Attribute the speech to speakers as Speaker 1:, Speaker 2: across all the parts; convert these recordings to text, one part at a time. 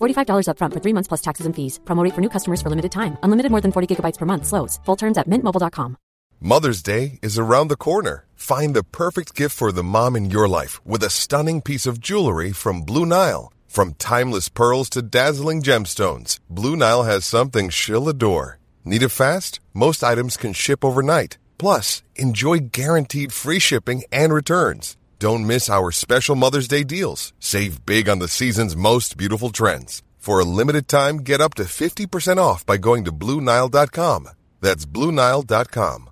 Speaker 1: $45 upfront for three months plus taxes and fees. Promo rate for new customers for limited time. Unlimited more than 40 gigabytes per month. Slows. Full terms at mintmobile.com.
Speaker 2: Mother's Day is around the corner. Find the perfect gift for the mom in your life with a stunning piece of jewelry from Blue Nile. From timeless pearls to dazzling gemstones, Blue Nile has something she'll adore. Need it fast? Most items can ship overnight. Plus, enjoy guaranteed free shipping and returns. Don't miss our special Mother's Day deals. Save big on the season's most beautiful trends. For a limited time, get up to 50% off by going to Blue Nile.com. That's Blue Nile.com.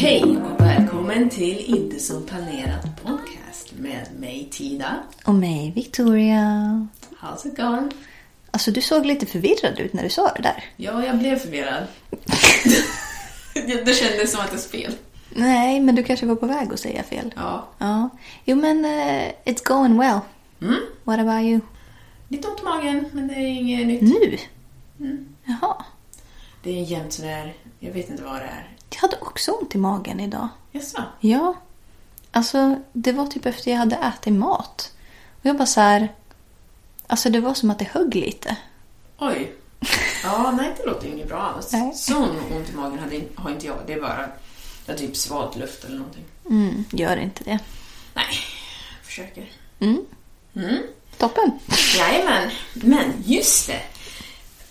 Speaker 3: Hej och välkommen till Inte som planerat podcast med mig Tina.
Speaker 4: Och mig, Victoria.
Speaker 3: How's it going?
Speaker 4: Alltså du såg lite förvirrad ut när du sa det där.
Speaker 3: Ja, jag blev förvirrad. det det kändes som att det är spel.
Speaker 4: Nej, men du kanske var på väg att säga fel.
Speaker 3: Ja.
Speaker 4: Ja. Jo men, eh, it's going well. What about you?
Speaker 3: Lite ont i magen, men det är inget nytt.
Speaker 4: Nu? Jaha.
Speaker 3: Det är jämnt sådär. Jag vet inte vad det är.
Speaker 4: Jag hade också ont i magen idag.
Speaker 3: Jaså?
Speaker 4: Ja. Alltså, det var typ efter jag hade ätit mat. Och jag bara så här... Alltså det var som att det högg lite.
Speaker 3: Oj. Ja, nej, det låter ju inget bra alls.
Speaker 4: Nej.
Speaker 3: Sån ont i magen hade, in- har inte jag. Det är bara... Jag har typ svalt luft eller någonting.
Speaker 4: Mm, gör inte det.
Speaker 3: Nej, jag försöker.
Speaker 4: Toppen.
Speaker 3: Jajamän, men just det.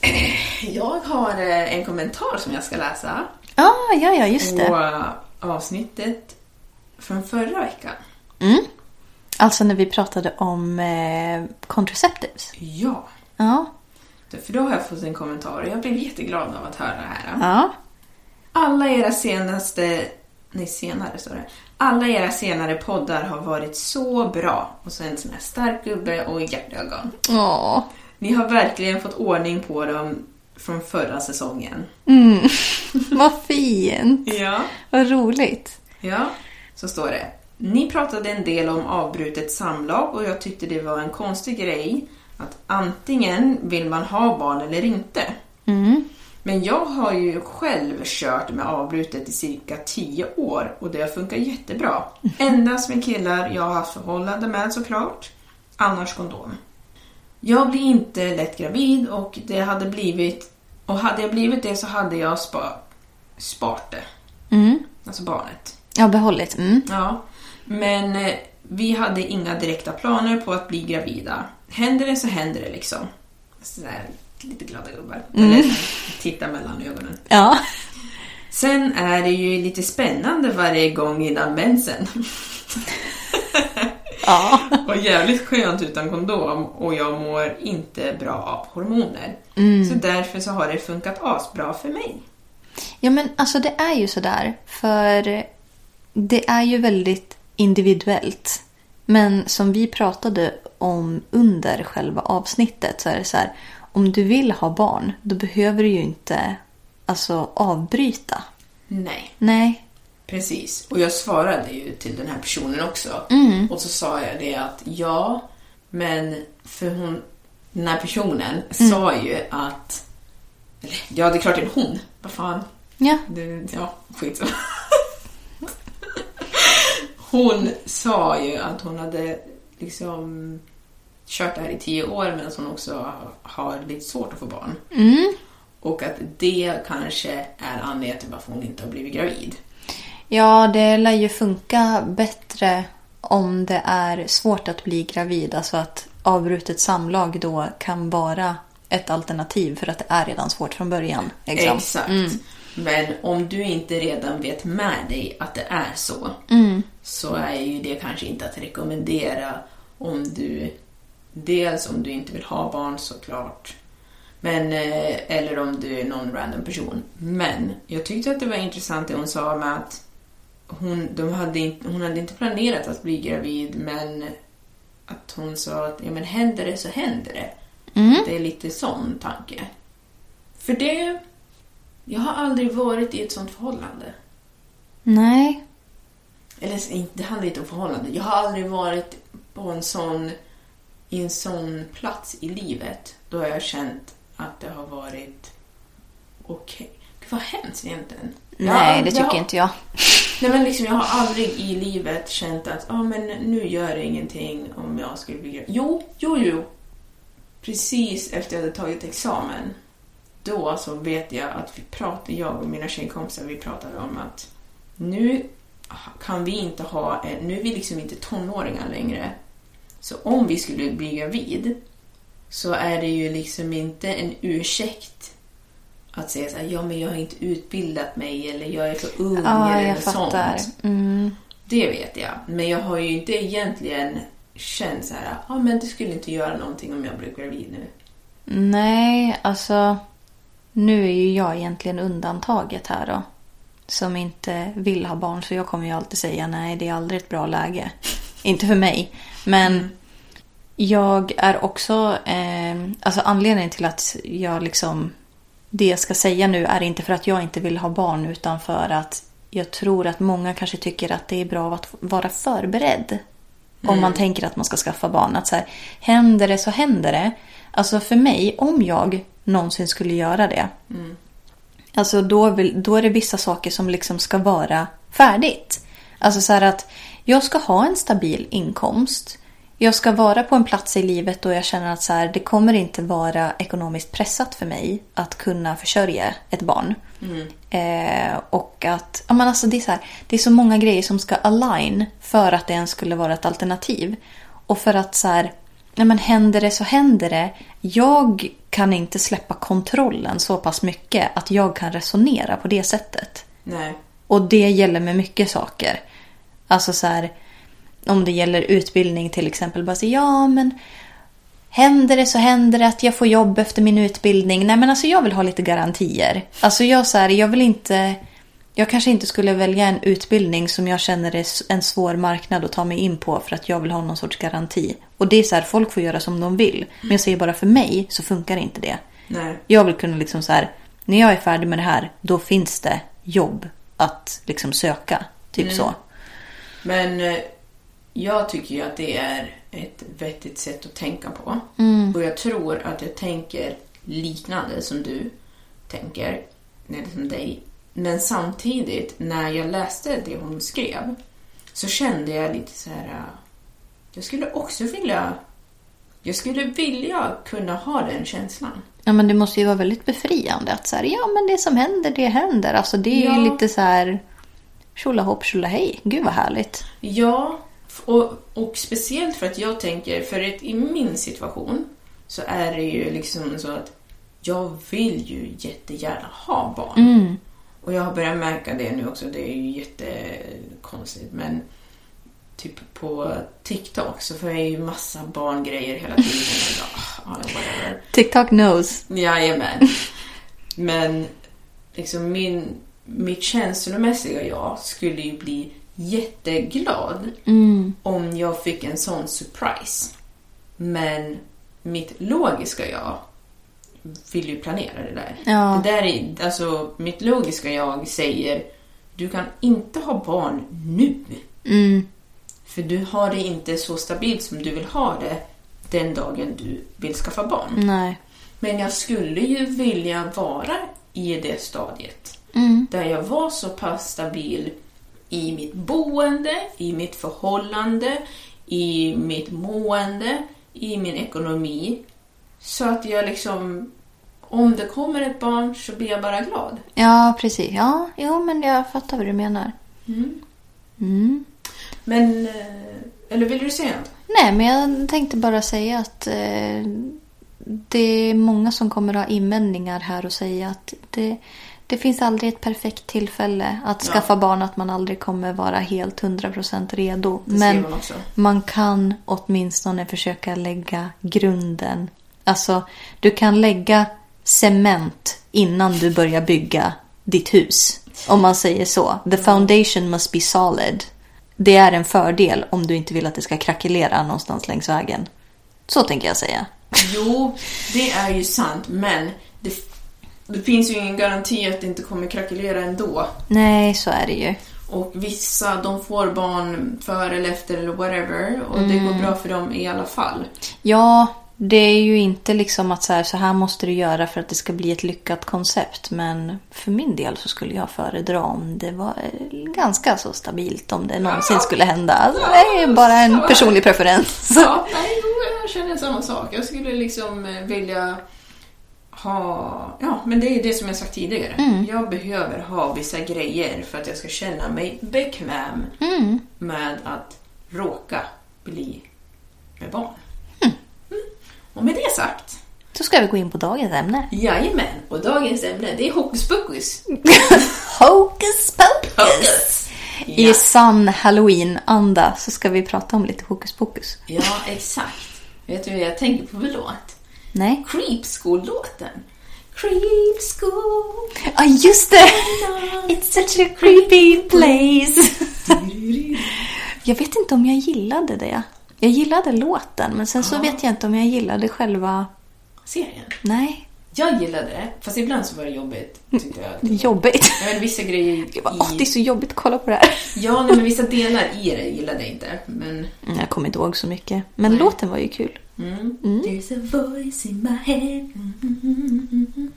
Speaker 3: Jag har eh, en kommentar som jag ska läsa
Speaker 4: Ah, ja, ja, just
Speaker 3: på
Speaker 4: det.
Speaker 3: eh, avsnittet från förra veckan.
Speaker 4: Alltså när vi pratade om eh, contraceptives.
Speaker 3: Ja,
Speaker 4: Ja.
Speaker 3: för då har jag fått en kommentar och jag blev jätteglad av att höra det här.
Speaker 4: Ja.
Speaker 3: Alla era senaste... Nej, senare står det. Alla era senare poddar har varit så bra. Och så en sån här stark gubbe och hjärtögon.
Speaker 4: Åh.
Speaker 3: Ni har verkligen fått ordning på dem från förra säsongen.
Speaker 4: Vad fint!
Speaker 3: Ja.
Speaker 4: Vad roligt!
Speaker 3: Ja, så står det. Ni pratade en del om avbrutet samlag och jag tyckte det var en konstig grej att antingen vill man ha barn eller inte. Men jag har ju själv kört med avbrutet i cirka 10 år och det har funkat jättebra. Endast med killar jag har haft förhållande med såklart, annars kondom. Jag blir inte lätt gravid och det hade blivit och hade jag blivit det så hade jag spa, spart det. Alltså barnet.
Speaker 4: Jag har behållit. Mm.
Speaker 3: Ja, men eh, vi hade inga direkta planer på att bli gravida. Händer det så händer det liksom. Sådär, lite glada gubbar. Eller titta mellan ögonen.
Speaker 4: Ja.
Speaker 3: Sen är det ju lite spännande varje gång innan mensen.
Speaker 4: Ja.
Speaker 3: Och jävligt skönt utan kondom och jag mår inte bra av hormoner. Så därför så har det funkat asbra för mig.
Speaker 4: ja, men alltså det är ju sådär. För det är ju väldigt individuellt. Men som vi pratade om under själva avsnittet så är det så här. Om du vill ha barn, då behöver du ju inte alltså, avbryta.
Speaker 3: Nej.
Speaker 4: Nej.
Speaker 3: Precis, och jag svarade ju till den här personen också. Och så sa jag det att ja, men för hon, den här personen sa ju att, eller, ja det är klart det är hon, vad fan,
Speaker 4: Ja.
Speaker 3: det, ja skitsamma. hon sa ju att hon hade liksom kört det här i tio år men hon också har lite svårt att få barn. Och att det kanske är anledningen till varför hon inte har blivit gravid.
Speaker 4: Ja, det lär ju funka bättre om det är svårt att bli gravid, alltså att avbrutet samlag då kan vara ett alternativ för att det är redan svårt från början. liksom.
Speaker 3: Exakt. Men om du inte redan vet med dig att det är så, så är ju det kanske inte att rekommendera om du... Dels om du inte vill ha barn såklart, men, eh, eller om du är någon random person. Men jag tyckte att det var intressant det hon sa med att hon, de hade, inte- hon hade inte planerat att bli gravid, men att hon sa att ja, men händer det så händer det. Det är lite sån tanke. För det jag har aldrig varit i ett sånt förhållande.
Speaker 4: Nej.
Speaker 3: Eller s- inte- det handlar inte om förhållande. Jag har aldrig varit på en sån, i en sån plats i livet då jag har känt att det har varit okej. Gud vad hemskt egentligen. Jag har
Speaker 4: Nej,
Speaker 3: ald-
Speaker 4: det tycker
Speaker 3: har-
Speaker 4: inte jag.
Speaker 3: Nej, men liksom, jag har aldrig i livet känt att ah, men nu gör det ingenting om jag skulle bli gravid. Jo, jo, jo. Precis efter jag hade tagit examen, då så vet jag att vi pratade, jag och mina tjejkompisar, vi pratade om att nu kan vi inte ha, en- nu är vi liksom inte tonåringar längre. Så om vi skulle bli gravid så är det ju liksom inte en ursäkt att säga så här, ja men jag har inte utbildat mig eller jag är för ung
Speaker 4: Ja,
Speaker 3: eller
Speaker 4: jag
Speaker 3: något
Speaker 4: fattar.
Speaker 3: sånt.
Speaker 4: Mm.
Speaker 3: Det vet jag. Men jag har ju inte egentligen känt så här, ja ah, men det skulle inte göra någonting om jag blev gravid nu.
Speaker 4: Nej, alltså... Nu är ju jag egentligen undantaget här då. Som inte vill ha barn, så jag kommer ju alltid säga nej, det är aldrig ett bra läge. inte för mig, men... Jag är också... Eh, alltså anledningen till att jag liksom... Det jag ska säga nu är inte för att jag inte vill ha barn utan för att jag tror att många kanske tycker att det är bra att vara förberedd. Om man tänker att man ska skaffa barn. Att så här, händer det så händer det. Alltså för mig, om jag någonsin skulle göra det. Alltså då, vill, då är det vissa saker som liksom ska vara färdigt. Alltså så här att jag ska ha en stabil inkomst. Jag ska vara på en plats i livet då jag känner att så här, det kommer inte vara ekonomiskt pressat för mig att kunna försörja ett barn. Eh, och att, ja, men alltså det, är så här, det är så många grejer som ska align för att det ens skulle vara ett alternativ. Och för att så här, nej men händer det så händer det. Jag kan inte släppa kontrollen så pass mycket att jag kan resonera på det sättet.
Speaker 3: Nej.
Speaker 4: Och det gäller med mycket saker. Alltså så här, om det gäller utbildning till exempel. Bara så, ja men händer det så händer det att jag får jobb efter min utbildning. Nej men alltså jag vill ha lite garantier. Alltså jag så här, jag vill inte... Jag kanske inte skulle välja en utbildning som jag känner är s- en svår marknad att ta mig in på för att jag vill ha någon sorts garanti. Och det är så här, folk får göra som de vill. Men jag säger bara för mig så funkar inte det.
Speaker 3: Nej.
Speaker 4: Jag vill kunna liksom så här, när jag är färdig med det här, då finns det jobb att liksom söka. Typ så.
Speaker 3: Men eh, jag tycker ju att det är ett vettigt sätt att tänka på. Och jag tror att jag tänker liknande som du tänker, eller som dig. Men samtidigt, när jag läste det hon skrev, så kände jag lite så här... eh, Jag skulle också vilja... Jag skulle vilja kunna ha den känslan.
Speaker 4: Ja men det måste ju vara väldigt befriande att så här, ja men det som händer, det händer. Alltså det är ju
Speaker 3: Ja.
Speaker 4: lite så här, tjolahopp tjolahej. Gud vad härligt.
Speaker 3: Ja, f- och, och speciellt för att jag tänker, för att i min situation så är det ju liksom så att jag vill ju jättegärna ha barn. Och jag har börjat märka det nu också, det är ju jättekonstigt men typ på TikTok så får jag ju massa barngrejer hela tiden. Och jag bara, ah, whatever.
Speaker 4: TikTok knows.
Speaker 3: Jajamän. Men liksom min, mitt känslomässiga jag skulle ju bli jätteglad om jag fick en sån surprise. Men mitt logiska jag vill ju planera det där.
Speaker 4: Ja.
Speaker 3: Det där är, alltså, mitt logiska jag säger du kan inte ha barn nu. För du har det inte så stabilt som du vill ha det den dagen du vill skaffa barn.
Speaker 4: Nej.
Speaker 3: Men jag skulle ju vilja vara i det stadiet. Där jag var så pass stabil i mitt boende, i mitt förhållande, i mitt mående, i min ekonomi. Så att jag liksom, om det kommer ett barn så blir jag bara glad.
Speaker 4: Ja precis. Ja, jo men jag fattar vad du menar.
Speaker 3: Men eh, Eller vill du säga något?
Speaker 4: Nej, men jag tänkte bara säga att eh, det är många som kommer ha invändningar här och säga att det, det finns aldrig ett perfekt tillfälle att
Speaker 3: Ja.
Speaker 4: skaffa barn, att man aldrig kommer vara helt 100% redo.
Speaker 3: Det ser
Speaker 4: men
Speaker 3: man också.
Speaker 4: man kan åtminstone försöka lägga grunden. Alltså, du kan lägga cement innan du börjar bygga ditt hus. Om man säger så. The foundation must be solid. Det är en fördel om du inte vill att det ska krackelera någonstans längs vägen. Så tänker jag säga.
Speaker 3: Jo, det är ju sant, men det, det finns ju ingen garanti att det inte kommer krackelera ändå.
Speaker 4: Nej, så är det ju.
Speaker 3: Och vissa, de får barn före eller efter eller whatever och det går bra för dem i alla fall.
Speaker 4: Ja, det är ju inte liksom att så här, så här måste du göra för att det ska bli ett lyckat koncept. Men för min del så skulle jag föredra om det var eh, ganska så stabilt om det någonsin skulle hända. Alltså, det är ju bara en personlig preferens.
Speaker 3: Ja, nej, jo, jag känner samma sak. Jag skulle liksom eh, vilja ha... Ja, men det är det som jag sagt tidigare. Jag behöver ha vissa grejer för att jag ska känna mig bekväm Mm. med att råka bli med barn. Mm. Och med det sagt
Speaker 4: Då ska vi gå in på dagens ämne.
Speaker 3: Jajamän, och dagens ämne det är hokus pokus.
Speaker 4: Hocus pocus!
Speaker 3: Hokus!
Speaker 4: I
Speaker 3: Ja,
Speaker 4: sann halloween-anda så ska vi prata om lite hokus pokus.
Speaker 3: ja, exakt. Vet du vad jag tänker på för låt?
Speaker 4: Nej?
Speaker 3: Creep School-låten. Creep School.
Speaker 4: Ja, ah, just det! It's such a creepy place! Jag vet inte om jag gillade det. Jag gillade låten, men sen så vet jag inte om jag gillade själva...
Speaker 3: Serien.
Speaker 4: Nej,
Speaker 3: Jag gillade det, fast ibland så var det jobbigt. Tyckte jag.
Speaker 4: jobbigt.
Speaker 3: Jag hade vissa grejer
Speaker 4: Jag bara, åh, det är
Speaker 3: i...
Speaker 4: så jobbigt att kolla på det här.
Speaker 3: Ja, nej, men vissa delar i det gillade jag inte. Men...
Speaker 4: Mm, Jag kommer inte ihåg så mycket, men låten var ju kul.
Speaker 3: Mm. There's a voice in my head. Mm.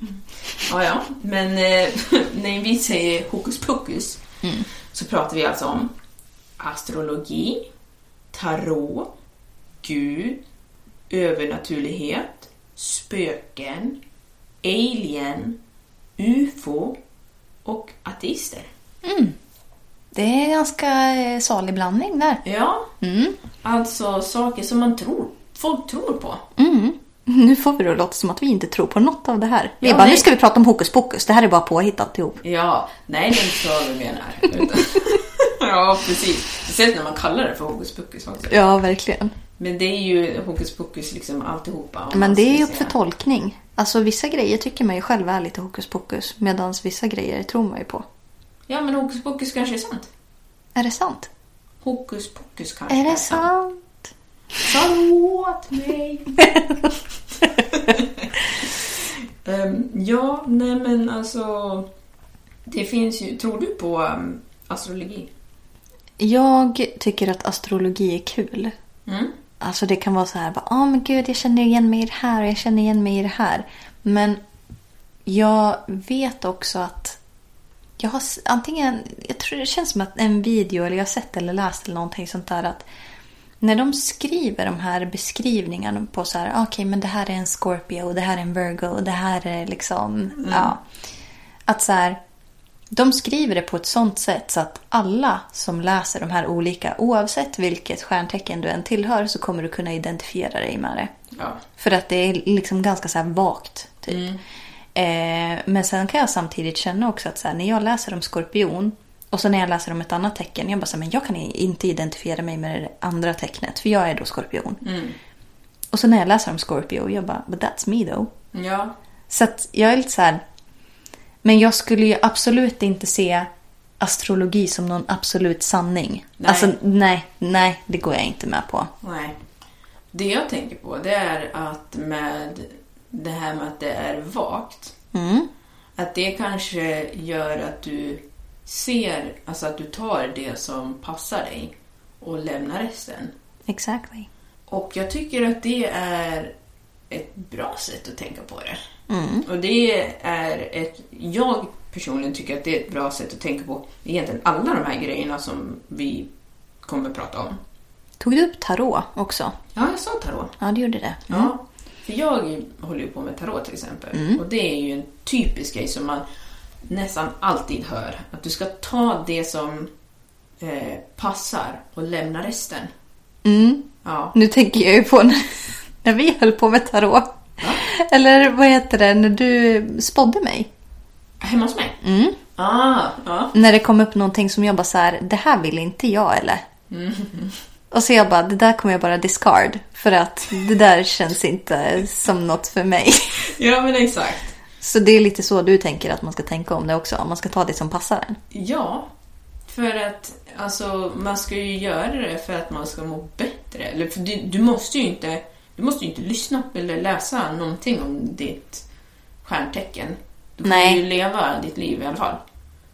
Speaker 3: Ja, ja. Men eh, när vi säger hokus pokus så pratar vi alltså om astrologi, tarot, gud, övernaturlighet, spöken, alien, ufo och ateister.
Speaker 4: Det är en ganska eh, salig blandning där.
Speaker 3: Ja, alltså saker som man tror, folk tror på.
Speaker 4: Nu får vi då låta som att vi inte tror på något av det här. Vi
Speaker 3: Ja,
Speaker 4: bara,
Speaker 3: nej.
Speaker 4: nu ska vi prata om hokus pokus. Det här är bara påhittat ihop.
Speaker 3: Ja, nej det är inte så vi menar. Utan- ja, precis. Speciellt när man kallar det för hokus pokus också.
Speaker 4: Ja, verkligen.
Speaker 3: Men det är ju hokus pokus liksom alltihopa. om
Speaker 4: Men
Speaker 3: man
Speaker 4: det är
Speaker 3: skulle
Speaker 4: ju upp för
Speaker 3: säga.
Speaker 4: tolkning. Alltså vissa grejer tycker man ju själv är lite hokus pokus. Medan vissa grejer tror man ju på.
Speaker 3: Ja, men hokus pokus kanske är sant.
Speaker 4: Är det sant?
Speaker 3: Hokus pokus kanske
Speaker 4: Är det sant?
Speaker 3: Sa åt mig. Ehm, ja, nej men alltså. Det finns ju, tror du på um, astrologi?
Speaker 4: Jag tycker att astrologi är kul.
Speaker 3: Mm.
Speaker 4: Alltså det kan vara så här, bara, "Ah, men gud jag känner igen mig i det här och jag känner igen mig i det här. Men jag vet också att jag har s- antingen, jag tror det känns som att en video eller jag har sett eller läst eller någonting sånt där att när de skriver de här beskrivningarna på så här, "Ah, okej men det här är en Scorpio och det här är en Virgo och det här är liksom, ja. Att så här, de skriver det på ett sånt sätt så att alla som läser de här olika, oavsett vilket stjärntecken du än tillhör, så kommer du kunna identifiera dig med det.
Speaker 3: Ja.
Speaker 4: För att det är liksom ganska så här vagt. Typ. Eh, men sen kan jag samtidigt känna också att så här, när jag läser om skorpion och så när jag läser om ett annat tecken, jag bara så här, men jag kan i- inte identifiera mig med det andra tecknet för jag är då skorpion. Och så när jag läser om Scorpio, jag bara, but that's me though.
Speaker 3: Ja.
Speaker 4: Så att jag är lite så här. Men jag skulle ju absolut inte se astrologi som någon absolut sanning.
Speaker 3: Nej.
Speaker 4: Alltså nej, nej, det går jag inte med på.
Speaker 3: Nej. Det jag tänker på det är att med det här med att det är vagt.
Speaker 4: Mm,
Speaker 3: Att det kanske gör att du ser, alltså att du tar det som passar dig och lämnar resten.
Speaker 4: Exactly.
Speaker 3: Och jag tycker att det är ett bra sätt att tänka på det. Och det är ett, jag personligen tycker att det är ett bra sätt att tänka på egentligen alla de här grejerna som vi kommer prata om.
Speaker 4: Tog du upp tarot också?
Speaker 3: Ja, jag sa tarot.
Speaker 4: Ja, du gjorde det.
Speaker 3: Ja, för jag håller ju på med tarot till exempel. Och det är ju en typisk grej som man nästan alltid hör. Att du ska ta det som eh, passar och lämna resten. Ja.
Speaker 4: Nu tänker jag ju på när, när vi höll på med tarot. Eller vad heter det, när du spådde mig.
Speaker 3: Hemma hos mig? Mm. Ah, ja.
Speaker 4: När det kom upp någonting som jag bara så här, det här vill inte jag eller? Mm. Och så jag bara, det där kommer jag bara discard. För att det där känns inte som något för mig.
Speaker 3: ja, men exakt.
Speaker 4: Så det är lite så du tänker att man ska tänka om det också. Om man ska ta det som passar en.
Speaker 3: Ja, för att alltså, man ska ju göra det för att man ska må bättre. Eller, för du, du måste ju inte du måste ju inte lyssna eller läsa någonting om ditt stjärntecken. Du kan
Speaker 4: Nej.
Speaker 3: ju leva ditt liv i alla fall.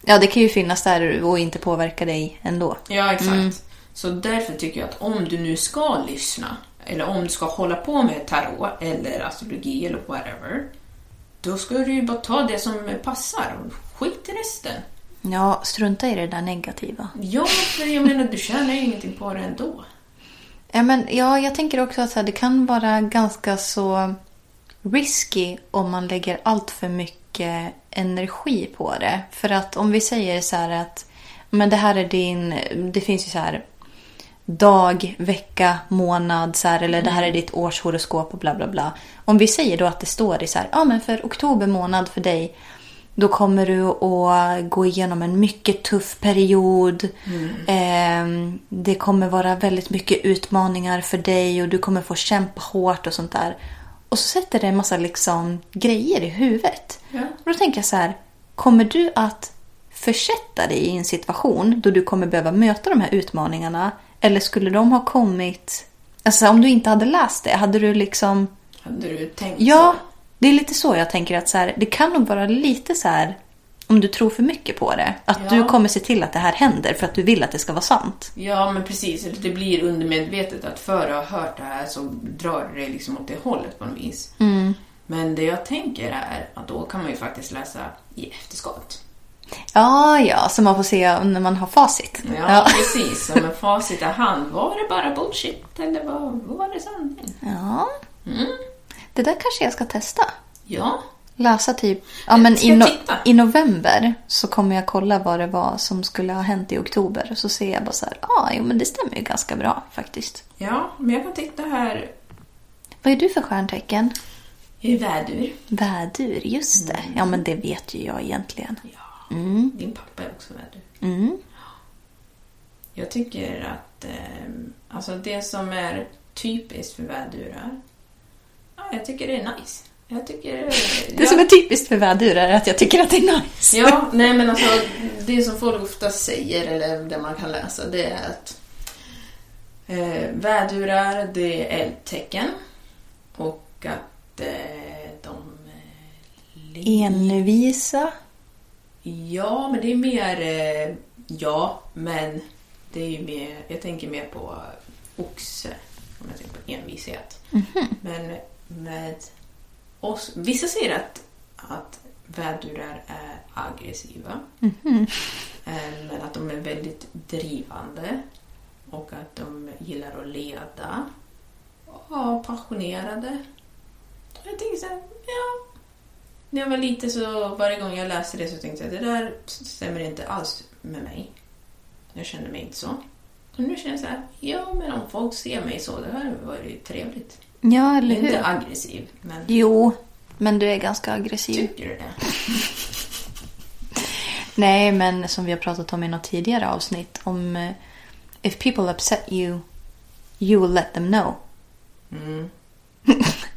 Speaker 4: Ja, det kan ju finnas där och inte påverka dig ändå.
Speaker 3: Ja, exakt. Mm. Så därför tycker jag att om du nu ska lyssna, eller om du ska hålla på med tarot eller astrologi eller whatever, då ska du ju bara ta det som passar och skit i resten.
Speaker 4: Ja, strunta i det där negativa.
Speaker 3: Ja, för jag menar, du tjänar ju ingenting på det ändå.
Speaker 4: Ja, men, ja jag tänker också att så här, det kan vara ganska så risky om man lägger allt för mycket energi på det. För att om vi säger så här att men det här är din, det finns ju så här dag, vecka, månad så här, eller det här är ditt årshoroskop och bla bla bla. Om vi säger då att det står i så här, ja men för oktober månad för dig då kommer du att gå igenom en mycket tuff period. Ehm, det kommer vara väldigt mycket utmaningar för dig och du kommer få kämpa hårt och sånt där. Och så sätter det en massa liksom grejer i huvudet.
Speaker 3: Ja.
Speaker 4: Och då tänker jag så här, kommer du att försätta dig i en situation då du kommer behöva möta de här utmaningarna? Eller skulle de ha kommit... Alltså om du inte hade läst det, hade du liksom...
Speaker 3: Hade du tänkt
Speaker 4: Ja,
Speaker 3: så?
Speaker 4: det är lite så jag tänker att så här, det kan nog vara lite så här om du tror för mycket på det. Att
Speaker 3: Ja.
Speaker 4: du kommer se till att det här händer för att du vill att det ska vara sant.
Speaker 3: Ja, men precis. Eller Det blir undermedvetet att för att ha hört det här så drar det liksom åt det hållet på något vis. Men det jag tänker är att då kan man ju faktiskt läsa i efterskott.
Speaker 4: Ja, ja, så man får se när man har facit.
Speaker 3: Ja, precis. Som en facit i hand. Var det bara bullshit eller var, var det sanning? Mm.
Speaker 4: Ja. Det där kanske jag ska testa.
Speaker 3: Ja.
Speaker 4: Läsa typ... Ja, men
Speaker 3: Ska
Speaker 4: i,
Speaker 3: jag
Speaker 4: no-
Speaker 3: titta?
Speaker 4: I november så kommer jag kolla vad det var som skulle ha hänt i oktober. Och så ser jag bara så här, ja, jo men det stämmer ju ganska bra faktiskt.
Speaker 3: Ja, men jag kan titta här.
Speaker 4: Vad är du för stjärntecken?
Speaker 3: Jag är vädur.
Speaker 4: Vädur, just det. Ja, men det vet ju jag egentligen. Mm.
Speaker 3: Ja. Din pappa är också vädur. Jag tycker att eh, alltså det som är typiskt för vädurar, ja, jag tycker det är nice. Jag tycker... eh,
Speaker 4: Det
Speaker 3: jag,
Speaker 4: som är typiskt för vädur är att jag tycker att det är nice.
Speaker 3: Ja, nej men alltså det som folk ofta säger eller det man kan läsa det är att eh, vädurar det är eldtecken och att eh, de... eh, li-
Speaker 4: Envisa.
Speaker 3: Ja, men det är mer... Eh, ja, men det är ju mer... Jag tänker mer på oxe, om jag tänker på envishet. Men med oss... Vissa säger att, att vädurar är aggressiva. Eh, Men att de är väldigt drivande och att de gillar att leda. Ja, passionerade. Jag tänker så här, ja, när jag var liten så varje gång jag läste det så tänkte jag det där stämmer inte alls med mig. Jag kände mig inte så. Och nu känner jag så här, ja men om folk ser mig så, det här var ju trevligt.
Speaker 4: Ja, eller
Speaker 3: Jag är
Speaker 4: hur?
Speaker 3: inte aggressiv, men
Speaker 4: Jo, men du är ganska aggressiv.
Speaker 3: tycker du det?
Speaker 4: Nej, men som vi har pratat om i något tidigare avsnitt om eh, if people upset you, you will let them know.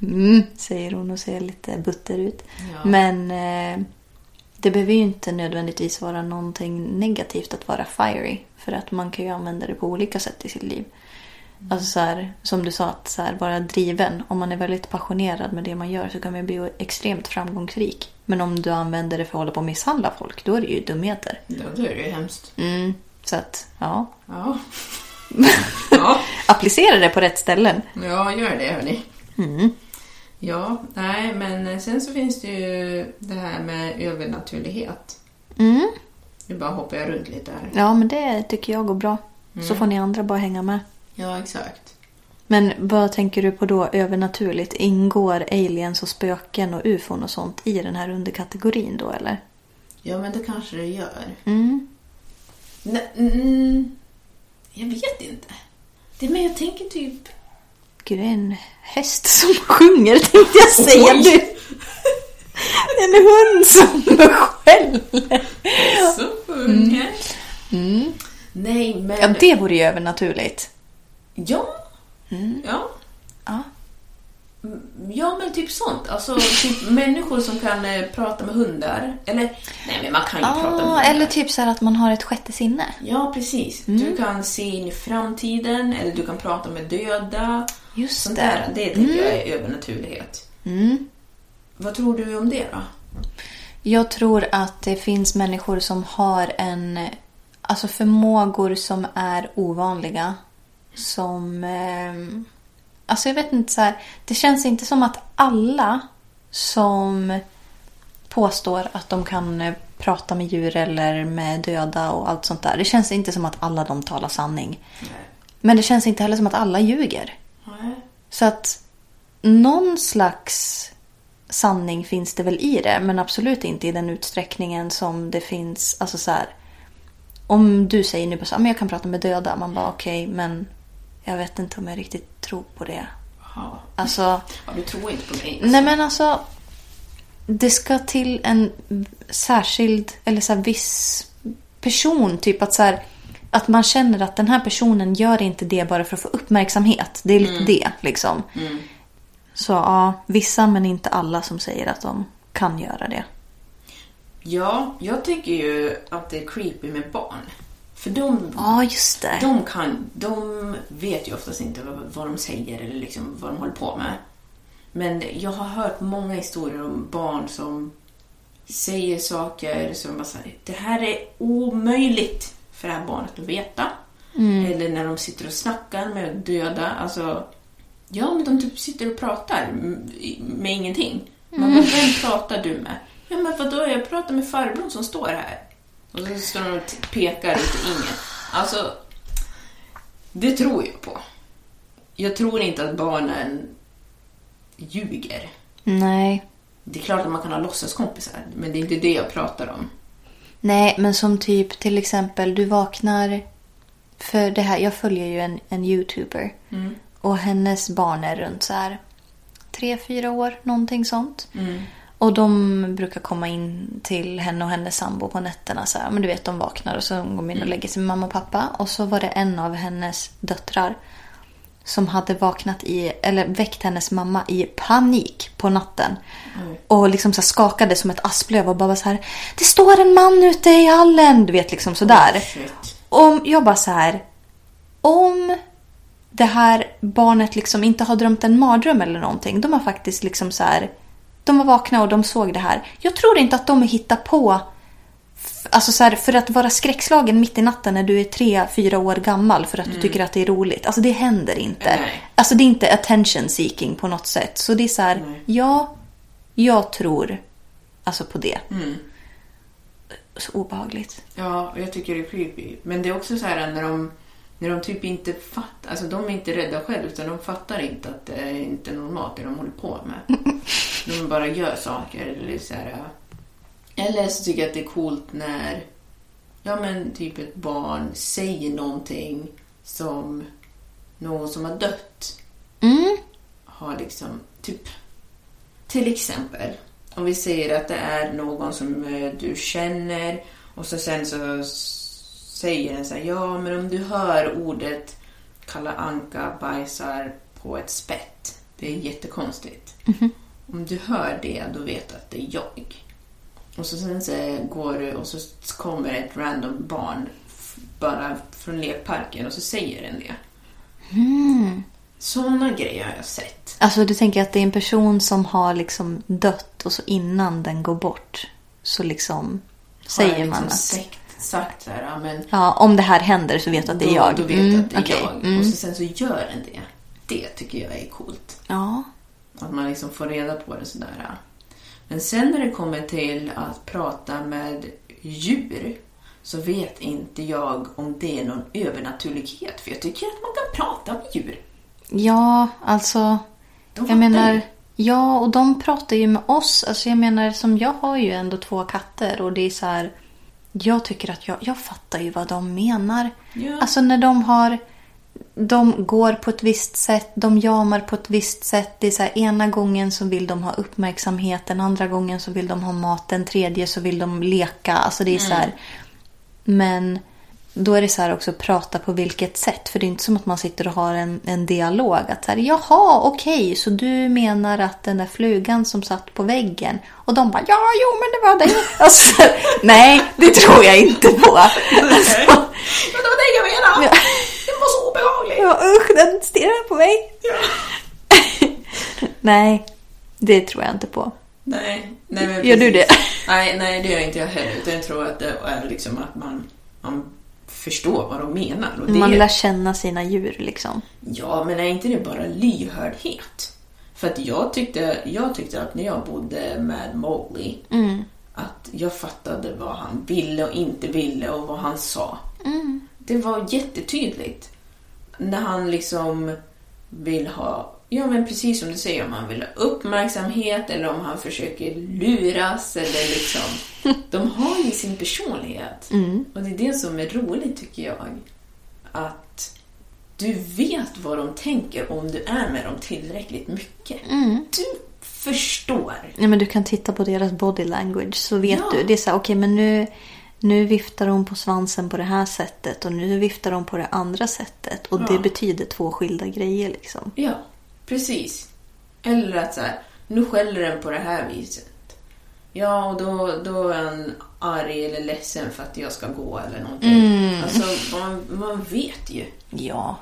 Speaker 4: Mm. säger hon och ser lite butter ut.
Speaker 3: Ja.
Speaker 4: Men eh, det behöver ju inte nödvändigtvis vara någonting negativt att vara fiery. För att man kan ju använda det på olika sätt i sitt liv. Alltså så här, som du sa, att så här, vara driven. Om man är väldigt passionerad med det man gör så kan man bli extremt framgångsrik. Men om du använder det för att hålla på och misshandla folk, då är det ju dumheter.
Speaker 3: Då, då är det ju hemskt.
Speaker 4: Mm, så att, ja.
Speaker 3: Ja. ja.
Speaker 4: Applicera det på rätt ställen.
Speaker 3: Ja, gör det hörni. Mm. Ja, nej men sen så finns det ju det här med övernaturlighet.
Speaker 4: Mm.
Speaker 3: Nu bara hoppar jag runt lite här.
Speaker 4: Ja, men det tycker jag går bra.
Speaker 3: Mm.
Speaker 4: Så får ni andra bara hänga med.
Speaker 3: Ja, exakt.
Speaker 4: Men vad tänker du på då övernaturligt? Ingår aliens och spöken och ufon och sånt i den här underkategorin då eller?
Speaker 3: Ja, men det kanske det gör.
Speaker 4: Mm.
Speaker 3: Nej, mm, jag vet inte. Det, men jag tänker typ...
Speaker 4: Gud, det är en häst som sjunger tänkte jag säga.
Speaker 3: Oj!
Speaker 4: Du. En hund som skäller.
Speaker 3: Så sjunger. Mm. Nej, men...
Speaker 4: Mm. Ja, det vore ju övernaturligt.
Speaker 3: Ja. ja.
Speaker 4: Mm. Ja.
Speaker 3: Ja, men typ sånt. Alltså typ människor som kan eh, prata med hundar. Eller, nej men man kan ju prata med
Speaker 4: Ah,
Speaker 3: hundar.
Speaker 4: eller typ Mm. så här att man har ett sjätte sinne.
Speaker 3: Ja, precis. Du kan se in i framtiden eller du kan prata med döda.
Speaker 4: Just
Speaker 3: Sånt
Speaker 4: det.
Speaker 3: där, det
Speaker 4: Mm.
Speaker 3: tänker jag är övernaturlighet. Vad tror du om det då?
Speaker 4: Jag tror att det finns människor som har en... Alltså förmågor som är ovanliga. Som... Eh, alltså jag vet inte så här. Det känns inte som att alla som påstår att de kan eh, prata med djur eller med döda och allt sånt där. Det känns inte som att alla de talar sanning. Men det känns inte heller som att alla ljuger.
Speaker 3: Nej.
Speaker 4: Så att någon slags sanning finns det väl i det, men absolut inte i den utsträckningen som det finns. Alltså så här, om du säger nu bara så här, men jag kan prata med döda, man bara okej, men jag vet inte om jag riktigt tror på det.
Speaker 3: Jaha.
Speaker 4: Alltså,
Speaker 3: Ja, du tror inte på mig? alltså.
Speaker 4: nej men alltså, det ska till en särskild, eller så här, viss person, typ att så här, att man känner att den här personen gör inte det bara för att få uppmärksamhet. Det är lite det liksom. Så ja, vissa men inte alla som säger att de kan göra det.
Speaker 3: Ja, jag tycker ju att det är creepy med barn. För de,
Speaker 4: Ja, just det.
Speaker 3: de, kan, de vet ju oftast inte vad, vad de säger eller liksom vad de håller på med. Men jag har hört många historier om barn som säger saker som bara säger det här är omöjligt för det här barnet att veta. Eller när de sitter och snackar med döda. Alltså, ja, men de typ sitter och pratar m- med ingenting. Man bara, vem pratar du med? Ja, men vadå, jag pratar med farbrorn som står här. Och så står de och t- pekar ut i ingen. Alltså, det tror jag på. Jag tror inte att barnen ljuger.
Speaker 4: Nej.
Speaker 3: Det är klart att man kan ha låtsaskompisar, men det är inte det jag pratar om.
Speaker 4: Nej, men som typ till exempel du vaknar... För det här, jag följer ju en, en youtuber. Och hennes barn är runt så här tre, fyra år, någonting sånt. Och de brukar komma in till henne och hennes sambo på nätterna. Så här, men du vet, de vaknar och så går de in och lägger sig med mamma och pappa. Och så var det en av hennes döttrar som hade vaknat i, eller väckt hennes mamma i panik på natten. Och liksom så här skakade som ett asplöv och bara var så här. Det står en man ute i hallen! Du vet liksom sådär.
Speaker 3: shit.
Speaker 4: Om jag bara så här. Om det här barnet liksom inte har drömt en mardröm eller någonting. De har faktiskt liksom så här. De var vakna och de såg det här. Jag tror inte att de hittar på Alltså så här, för att vara skräckslagen mitt i natten när du är tre, fyra år gammal för att du tycker att det är roligt. Alltså det händer inte.
Speaker 3: Nej.
Speaker 4: Alltså det är inte attention seeking på något sätt. Så det är så här, ja, jag tror alltså på det. Så obehagligt.
Speaker 3: Ja, och jag tycker det är creepy. Men det är också så här när de, när de typ inte fattar, alltså de är inte rädda själv utan de fattar inte att det är inte normalt det de håller på med. de bara gör saker eller så här. Eller så tycker jag att det är coolt när, ja men typ ett barn säger någonting som någon som har dött har liksom, typ, till exempel, om vi säger att det är någon som eh, du känner och så sen så s- säger den så här, ja men om du hör ordet Kalle Anka bajsar på ett spett, det är jättekonstigt.
Speaker 4: Mhm.
Speaker 3: Om du hör det, då vet du att det är jag. Och så sen så går du och så kommer ett random barn f- bara från lekparken och så säger den det. Mm. Sådana grejer har jag sett.
Speaker 4: Alltså du tänker att det är en person som har liksom dött och så innan den går bort så liksom
Speaker 3: har
Speaker 4: säger
Speaker 3: jag
Speaker 4: man
Speaker 3: liksom
Speaker 4: att
Speaker 3: Sagt, sagt så här, ja, men
Speaker 4: ja, om det här händer så vet du att det är
Speaker 3: då-
Speaker 4: jag.
Speaker 3: Då vet
Speaker 4: Mm,
Speaker 3: att det är
Speaker 4: okej.
Speaker 3: jag.
Speaker 4: Mm.
Speaker 3: Och så, sen så gör den det. Det tycker jag är coolt.
Speaker 4: Ja.
Speaker 3: Att man liksom får reda på det sådär. ja. Men sen när det kommer till att prata med djur så vet inte jag om det är någon övernaturlighet. För jag tycker att man kan prata med djur.
Speaker 4: Ja, alltså.
Speaker 3: De fattar
Speaker 4: jag menar,
Speaker 3: ju.
Speaker 4: ja, och de pratar ju med oss. Alltså jag menar, som jag har ju ändå två katter och det är så här. Jag tycker att jag, jag fattar ju vad de menar.
Speaker 3: Ja.
Speaker 4: Alltså när de har de går på ett visst sätt, de jamar på ett visst sätt. Det är så här, ena gången så vill de ha uppmärksamheten, andra gången så vill de ha maten, tredje så vill de leka. Alltså det är så
Speaker 3: Mm.
Speaker 4: här, men då är det så här också prata på vilket sätt. För det är inte som att man sitter och har en, en dialog. Att så här, Jaha, okej, så du menar att den där flugan som satt på väggen. Och de bara ja, jo men det var det. Alltså, så här, nej, det tror jag inte på. Alltså,
Speaker 3: Men det var det jag menade!
Speaker 4: Ja.
Speaker 3: Det var så obehagligt!
Speaker 4: ja, usch, den stirrar på mig. nej, det tror jag inte på.
Speaker 3: Nej, nej men
Speaker 4: Gör du
Speaker 3: precis.
Speaker 4: det?
Speaker 3: Nej, nej, det gör inte jag heller. Utan jag tror att det är liksom att man, man förstår vad de menar. Och det,
Speaker 4: Man lär känna sina djur liksom.
Speaker 3: Ja, men är inte det bara lyhördhet? För att jag tyckte, jag tyckte att när jag bodde med Mowgli att jag fattade vad han ville och inte ville och vad han sa. Det var jättetydligt. När han liksom vill ha, ja men precis som du säger, om han vill ha uppmärksamhet eller om han försöker luras eller liksom. De har ju sin personlighet. Och det är det som är roligt tycker jag. Att du vet vad de tänker om du är med dem tillräckligt mycket. Du förstår.
Speaker 4: Nej, men du kan titta på deras body language så vet
Speaker 3: Ja.
Speaker 4: du. Det är så här, okej men nu, nu viftar hon på svansen på det här sättet och nu viftar hon på det andra sättet. Och det
Speaker 3: Ja.
Speaker 4: betyder två skilda grejer liksom.
Speaker 3: Ja, precis. Eller att så här, nu skäller den på det här viset. Ja, och då, då är han arg eller ledsen för att jag ska gå eller någonting. Alltså, man, man vet ju.
Speaker 4: Ja.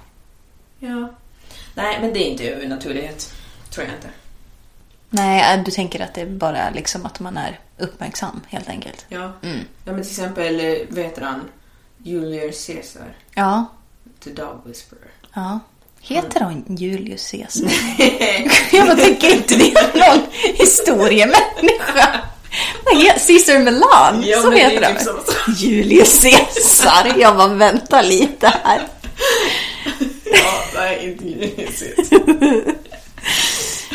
Speaker 3: Ja. Nej, men det är inte övernaturlighet. Tror jag inte.
Speaker 4: Nej, äh, du tänker att det är bara liksom att man är uppmärksam helt enkelt.
Speaker 3: Ja, ja men till exempel, eh, vad heter han? Julius Caesar,
Speaker 4: Ja.
Speaker 3: The Dog Whisperer.
Speaker 4: ja. Heter hon Julius Caesar? jag bara tänker inte det är någon historiemänniska. Nej, Caesar Milan,
Speaker 3: Ja,
Speaker 4: så
Speaker 3: men det är
Speaker 4: heter
Speaker 3: typ
Speaker 4: han.
Speaker 3: så.
Speaker 4: Julius Caesar. Jag bara, vänta lite här.
Speaker 3: Ja, nej, inte Julius Caesar.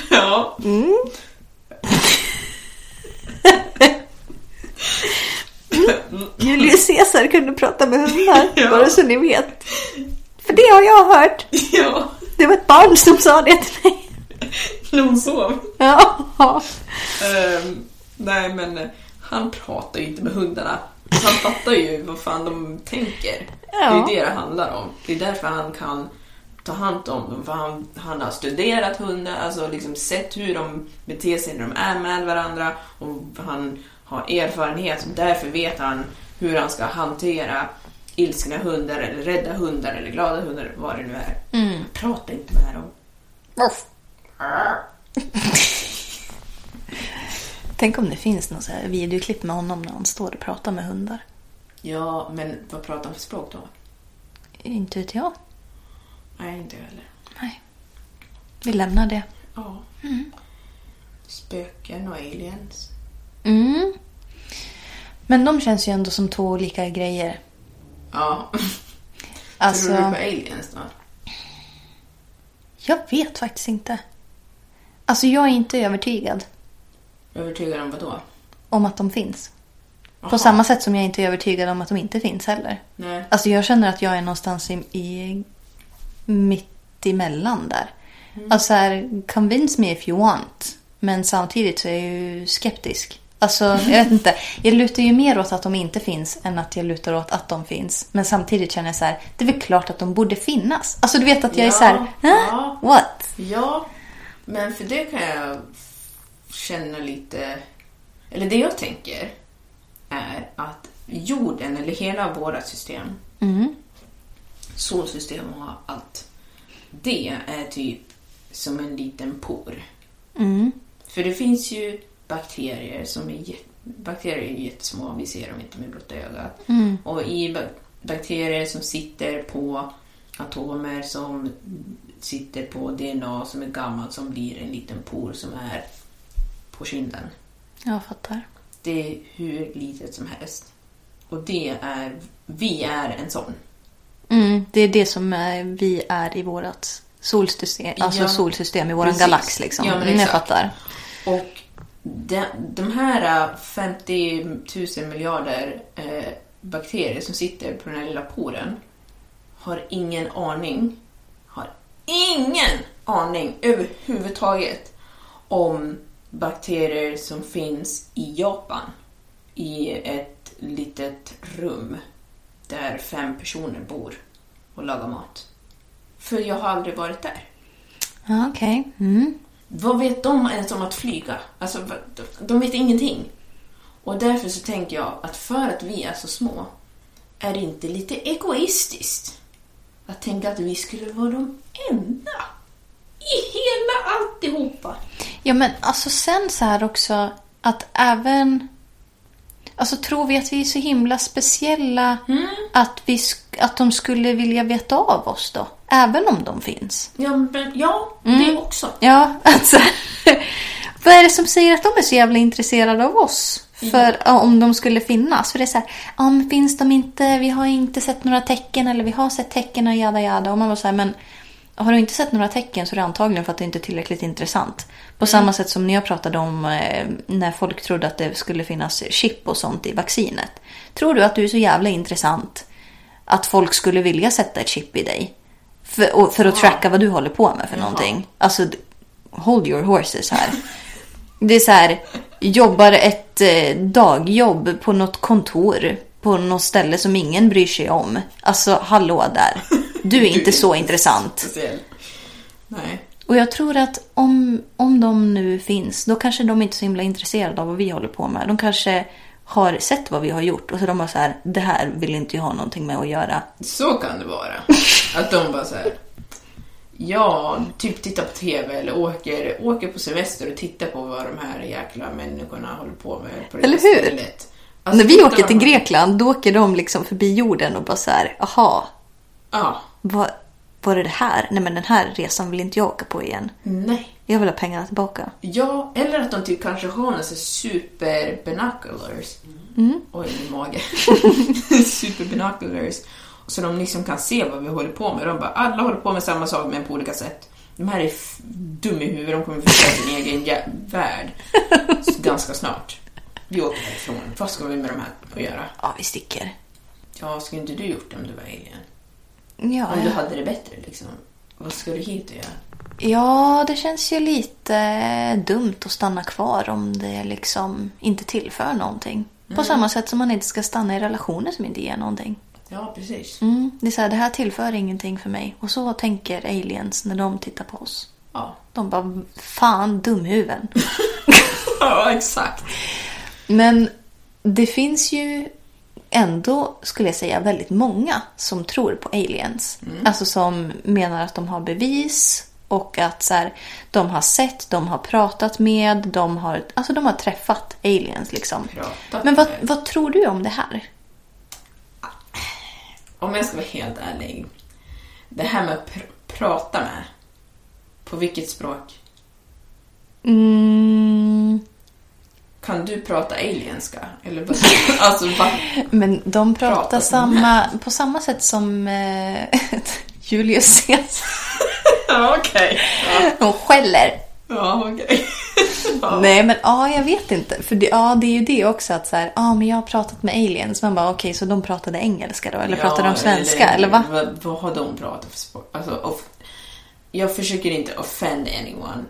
Speaker 3: ja.
Speaker 4: Julius Caesar kunde prata med hundar,
Speaker 3: Ja.
Speaker 4: bara så ni vet. För det har jag hört.
Speaker 3: ja.
Speaker 4: Det var ett barn som sa det till mig.
Speaker 3: När hon sov.
Speaker 4: Ja.
Speaker 3: Ehm, nej men eh, han pratar ju inte med hundarna. Han fattar ju vad fan de tänker. Det är
Speaker 4: Ja.
Speaker 3: ju det det handlar om. Det är därför han kan ta hand om dem. För han, han har studerat hundar, alltså liksom sett hur de beter sig när de är med varandra. Och han har erfarenhet och därför vet han hur han ska hantera ilskna hundar eller rädda hundar eller glada hundar, vad det nu är. Han pratar inte med dem.
Speaker 4: Tänk om det finns någon så här videoklipp med honom när han står och pratar med hundar.
Speaker 3: Ja, men vad pratar han för språk då?
Speaker 4: Inte vet jag.
Speaker 3: Nej, inte jag heller.
Speaker 4: Nej. Vi lämnar det.
Speaker 3: Ja. Spöken och aliens.
Speaker 4: Mm. Men de känns ju ändå som två olika grejer.
Speaker 3: Ja.
Speaker 4: Alltså,
Speaker 3: Tror du på aliens då?
Speaker 4: jag vet faktiskt inte. Alltså jag är inte övertygad
Speaker 3: Övertygad om vad då?
Speaker 4: om att de finns. På
Speaker 3: Jaha.
Speaker 4: samma sätt som jag inte är övertygad om att de inte finns heller.
Speaker 3: Nej.
Speaker 4: Alltså jag känner att jag är någonstans i, i mitt emellan där.
Speaker 3: Mm.
Speaker 4: Alltså här, convince me if you want. Men samtidigt så är jag ju skeptisk. Alltså jag vet inte. Jag lutar ju mer åt att de inte finns än att jag lutar åt att de finns. Men samtidigt känner jag så här, det är väl klart att de borde finnas. Alltså du vet att jag är så här,
Speaker 3: Ja,
Speaker 4: "Hä?
Speaker 3: ja.
Speaker 4: what?
Speaker 3: Ja, men för det kan jag känna lite... Eller det jag tänker är att jorden, eller hela våra system,
Speaker 4: Mm.
Speaker 3: solsystem och allt, det är typ som en liten por. För det finns ju bakterier som är jätte, bakterier är jättesmå, vi ser dem inte med blotta ögat. Och i ba- bakterier som sitter på atomer som sitter på DNA som är gammalt som blir en liten por som är på kinden.
Speaker 4: Jag fattar.
Speaker 3: Det är hur litet som helst. Och det är, vi är en sån.
Speaker 4: Mm, det är det som eh, vi är i vårt solsystem, alltså
Speaker 3: Ja.
Speaker 4: solsystem i våran
Speaker 3: Precis.
Speaker 4: galax liksom.
Speaker 3: Ja, men
Speaker 4: mm, jag
Speaker 3: exakt.
Speaker 4: fattar.
Speaker 3: Och de, de här eh, 50 000 miljarder äh, eh, bakterier som sitter på den här lilla poren har ingen aning ingen aning överhuvudtaget om bakterier som finns i Japan. I ett litet rum där fem personer bor och lagar mat. För jag har aldrig varit där.
Speaker 4: Ja, okej. Mm.
Speaker 3: Vad vet de ens om att flyga? Alltså, va- de- de vet ingenting. Och därför så tänker jag att för att vi är så små, är det inte lite egoistiskt att tänka att vi skulle vara de enda i hela alltihopa?
Speaker 4: Ja, men alltså sen så här också att även... Alltså tror vi att vi är så himla speciella att, vi, sk- att de skulle vilja veta av oss då? Även om de finns.
Speaker 3: Ja, men, ja det också.
Speaker 4: Ja, alltså. Vad är det som säger att de är så jävla intresserade av oss? För ja, om de skulle finnas. För det är så här, ja men finns de inte, vi har inte sett några tecken eller vi har sett tecken och jada jada. Och man var så här, men har du inte sett några tecken så är det antagligen för att det inte är tillräckligt intressant. På samma sätt som när jag pratade om eh, när folk trodde att det skulle finnas chip och sånt i vaccinet. Tror du att du är så jävla intressant att folk skulle vilja sätta ett chip i dig? För, och, för att tracka vad du håller på med för någonting. Alltså, d- hold your horses här. Det är så här, jobbar ett eh, dagjobb på något kontor på något ställe som ingen bryr sig om. Alltså, hallå där. Du är inte så intressant.
Speaker 3: Speciellt. Nej.
Speaker 4: Och jag tror att om, om de nu finns, då kanske de inte är så himla intresserade av vad vi håller på med. De kanske har sett vad vi har gjort och så de bara så här, det här vill inte jag ha någonting med att göra.
Speaker 3: Så kan det vara. Att de bara så här. Ja, typ tittar på TV eller åker, åker på semester och tittar på vad de här jäkla människorna håller på med på det
Speaker 4: Eller
Speaker 3: här
Speaker 4: hur?
Speaker 3: stället. Alltså,
Speaker 4: När vi
Speaker 3: tittar
Speaker 4: åker
Speaker 3: de
Speaker 4: till
Speaker 3: bara-
Speaker 4: Grekland, då åker de liksom förbi jorden och bara så här, aha,
Speaker 3: Ja.
Speaker 4: vad var det det här? Nej men den här resan vill inte jag åka på igen.
Speaker 3: Nej.
Speaker 4: Jag vill ha pengarna tillbaka.
Speaker 3: Ja, eller att de typ kanske har några så super binoculars. Oj, min mage. super binoculars. Så de liksom kan se vad vi håller på med. De bara, alla håller på med samma sak men på olika sätt. De här är f- dum i huvudet, de kommer förstöra sin egen jä- värld. Så ganska snart. Vi åker härifrån. Vad ska vi med de här att göra?
Speaker 4: Ja, vi sticker.
Speaker 3: Ja, skulle inte du gjort det om du var alien?
Speaker 4: Ja,
Speaker 3: Om du
Speaker 4: ja.
Speaker 3: hade det bättre liksom. Vad ska du hit och göra?
Speaker 4: ja, det känns ju lite dumt att stanna kvar om det liksom inte tillför någonting. På
Speaker 3: Mm.
Speaker 4: samma sätt som man inte ska stanna i relationer som inte ger någonting.
Speaker 3: Ja, precis.
Speaker 4: Mm, det är så här, det här tillför ingenting för mig. Och så tänker aliens när de tittar på oss.
Speaker 3: Ja.
Speaker 4: De bara, fan dumhuvuden.
Speaker 3: ja, exakt.
Speaker 4: Men det finns ju ändå, skulle jag säga, väldigt många som tror på aliens.
Speaker 3: Mm.
Speaker 4: Alltså som menar att de har bevis och att så här, de har sett, de har pratat med, de har, alltså de har träffat aliens liksom.
Speaker 3: Pratat
Speaker 4: Men vad,
Speaker 3: med.
Speaker 4: vad tror du om det här?
Speaker 3: om jag ska vara helt ärlig. Det här med att pr- prata med. På vilket språk?
Speaker 4: Mm,
Speaker 3: Kan du prata alienska? Eller vad? alltså, va?
Speaker 4: men de pratar
Speaker 3: Pratat med.
Speaker 4: samma, på samma sätt som eh, Julius Caesar.
Speaker 3: Ja, okej.
Speaker 4: De skäller.
Speaker 3: Ja, okej. Ja.
Speaker 4: Nej men ja, jag vet inte. För det, ja, det är ju det också att så här, ja men jag har pratat med aliens. Man bara okej, så de pratade engelska då? Eller pratade de svenska? Eller, va?
Speaker 3: Vad, vad har de pratat för språk? Alltså, off- jag försöker inte offend anyone.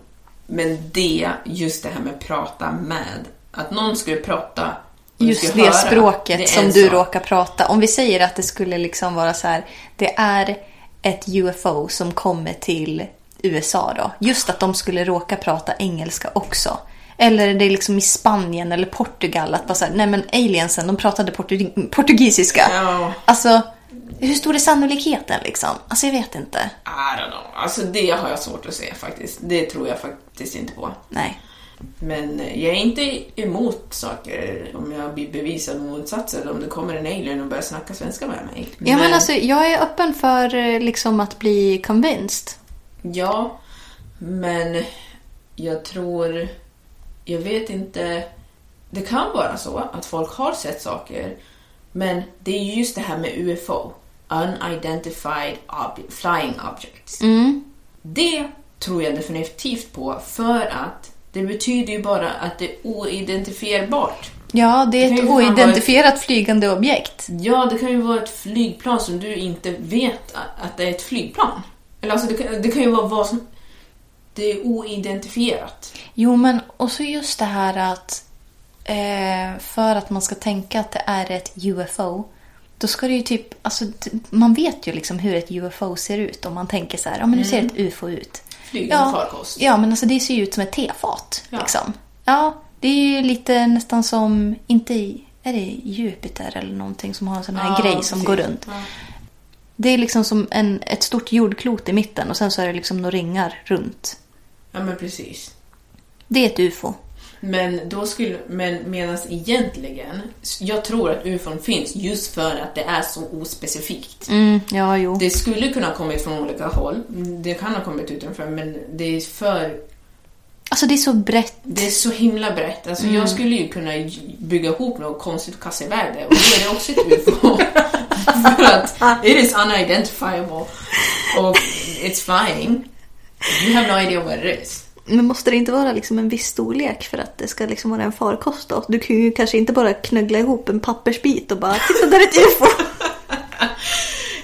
Speaker 3: Men det, just det här med prata med. Att någon skulle prata och du
Speaker 4: Just
Speaker 3: skulle
Speaker 4: det
Speaker 3: höra,
Speaker 4: språket
Speaker 3: det är
Speaker 4: som
Speaker 3: en
Speaker 4: du
Speaker 3: sak.
Speaker 4: råkar prata. Om vi säger att det skulle liksom vara så här, det är ett UFO som kommer till USA då. Just att de skulle råka prata engelska också. Eller det är liksom i Spanien eller Portugal att bara så här, nej men aliensen, de pratade portug- portugisiska.
Speaker 3: Ja.
Speaker 4: Alltså, hur stor är sannolikheten liksom? Alltså jag vet inte.
Speaker 3: I don't know. Alltså det har jag svårt att se faktiskt. Det tror jag faktiskt inte på.
Speaker 4: Nej.
Speaker 3: Men eh, jag är inte emot saker om jag blir bevisad motsatsen eller om det kommer en alien och börjar snacka svenska med mig.
Speaker 4: Ja, men alltså, jag är öppen för eh, liksom, att bli convinced.
Speaker 3: ja, men jag tror... Jag vet inte. Det kan vara så att folk har sett saker, men det är ju just det här med UFO. Unidentified ob- flying objects.
Speaker 4: Mm.
Speaker 3: Det tror jag definitivt på för att det betyder ju bara att det är oidentifierbart.
Speaker 4: Ja, det är
Speaker 3: Det
Speaker 4: ett
Speaker 3: kan ju fan
Speaker 4: oidentifierat flygande objekt.
Speaker 3: Ja, det kan ju vara ett flygplan som du inte vet a- att det är ett flygplan. Eller alltså det kan, det kan ju vara vad som... Det är oidentifierat.
Speaker 4: Jo, men och så just det här att eh, för att man ska tänka att det är ett UFO då ska det ju typ, alltså, t- man vet ju liksom hur ett UFO ser ut om man tänker så här, ja men hur ser ett UFO ut?
Speaker 3: Flygande Mm. farkost.
Speaker 4: Ja, men alltså det ser ju ut som ett tefat.
Speaker 3: Ja.
Speaker 4: Liksom. ja, det är ju lite nästan som, inte i, är det Jupiter eller någonting som har en sån här
Speaker 3: Ja,
Speaker 4: grej som
Speaker 3: precis.
Speaker 4: går runt?
Speaker 3: Ja.
Speaker 4: Det är liksom som en, ett stort jordklot i mitten och sen så är det liksom några ringar runt.
Speaker 3: Ja, men precis.
Speaker 4: Det är ett UFO.
Speaker 3: Men då skulle... Men menas egentligen... Jag tror att ufon finns just för att det är så ospecifikt.
Speaker 4: Mm, ja, jo.
Speaker 3: Det skulle kunna ha kommit från olika håll. Mm, Det kan ha kommit utanför, men det är för...
Speaker 4: Alltså det är så brett.
Speaker 3: Det är så himla brett. Alltså, Jag skulle ju kunna bygga ihop något konstigt och kasta iväg det. Och då är det också ett UFO. för att it is unidentifiable. Och it's flying. You have no idea what it is.
Speaker 4: Men måste det inte vara liksom en viss storlek för att det ska liksom vara en farkost då? Du kan ju kanske inte bara knöggla ihop en pappersbit och bara “titta där är ett UFO”.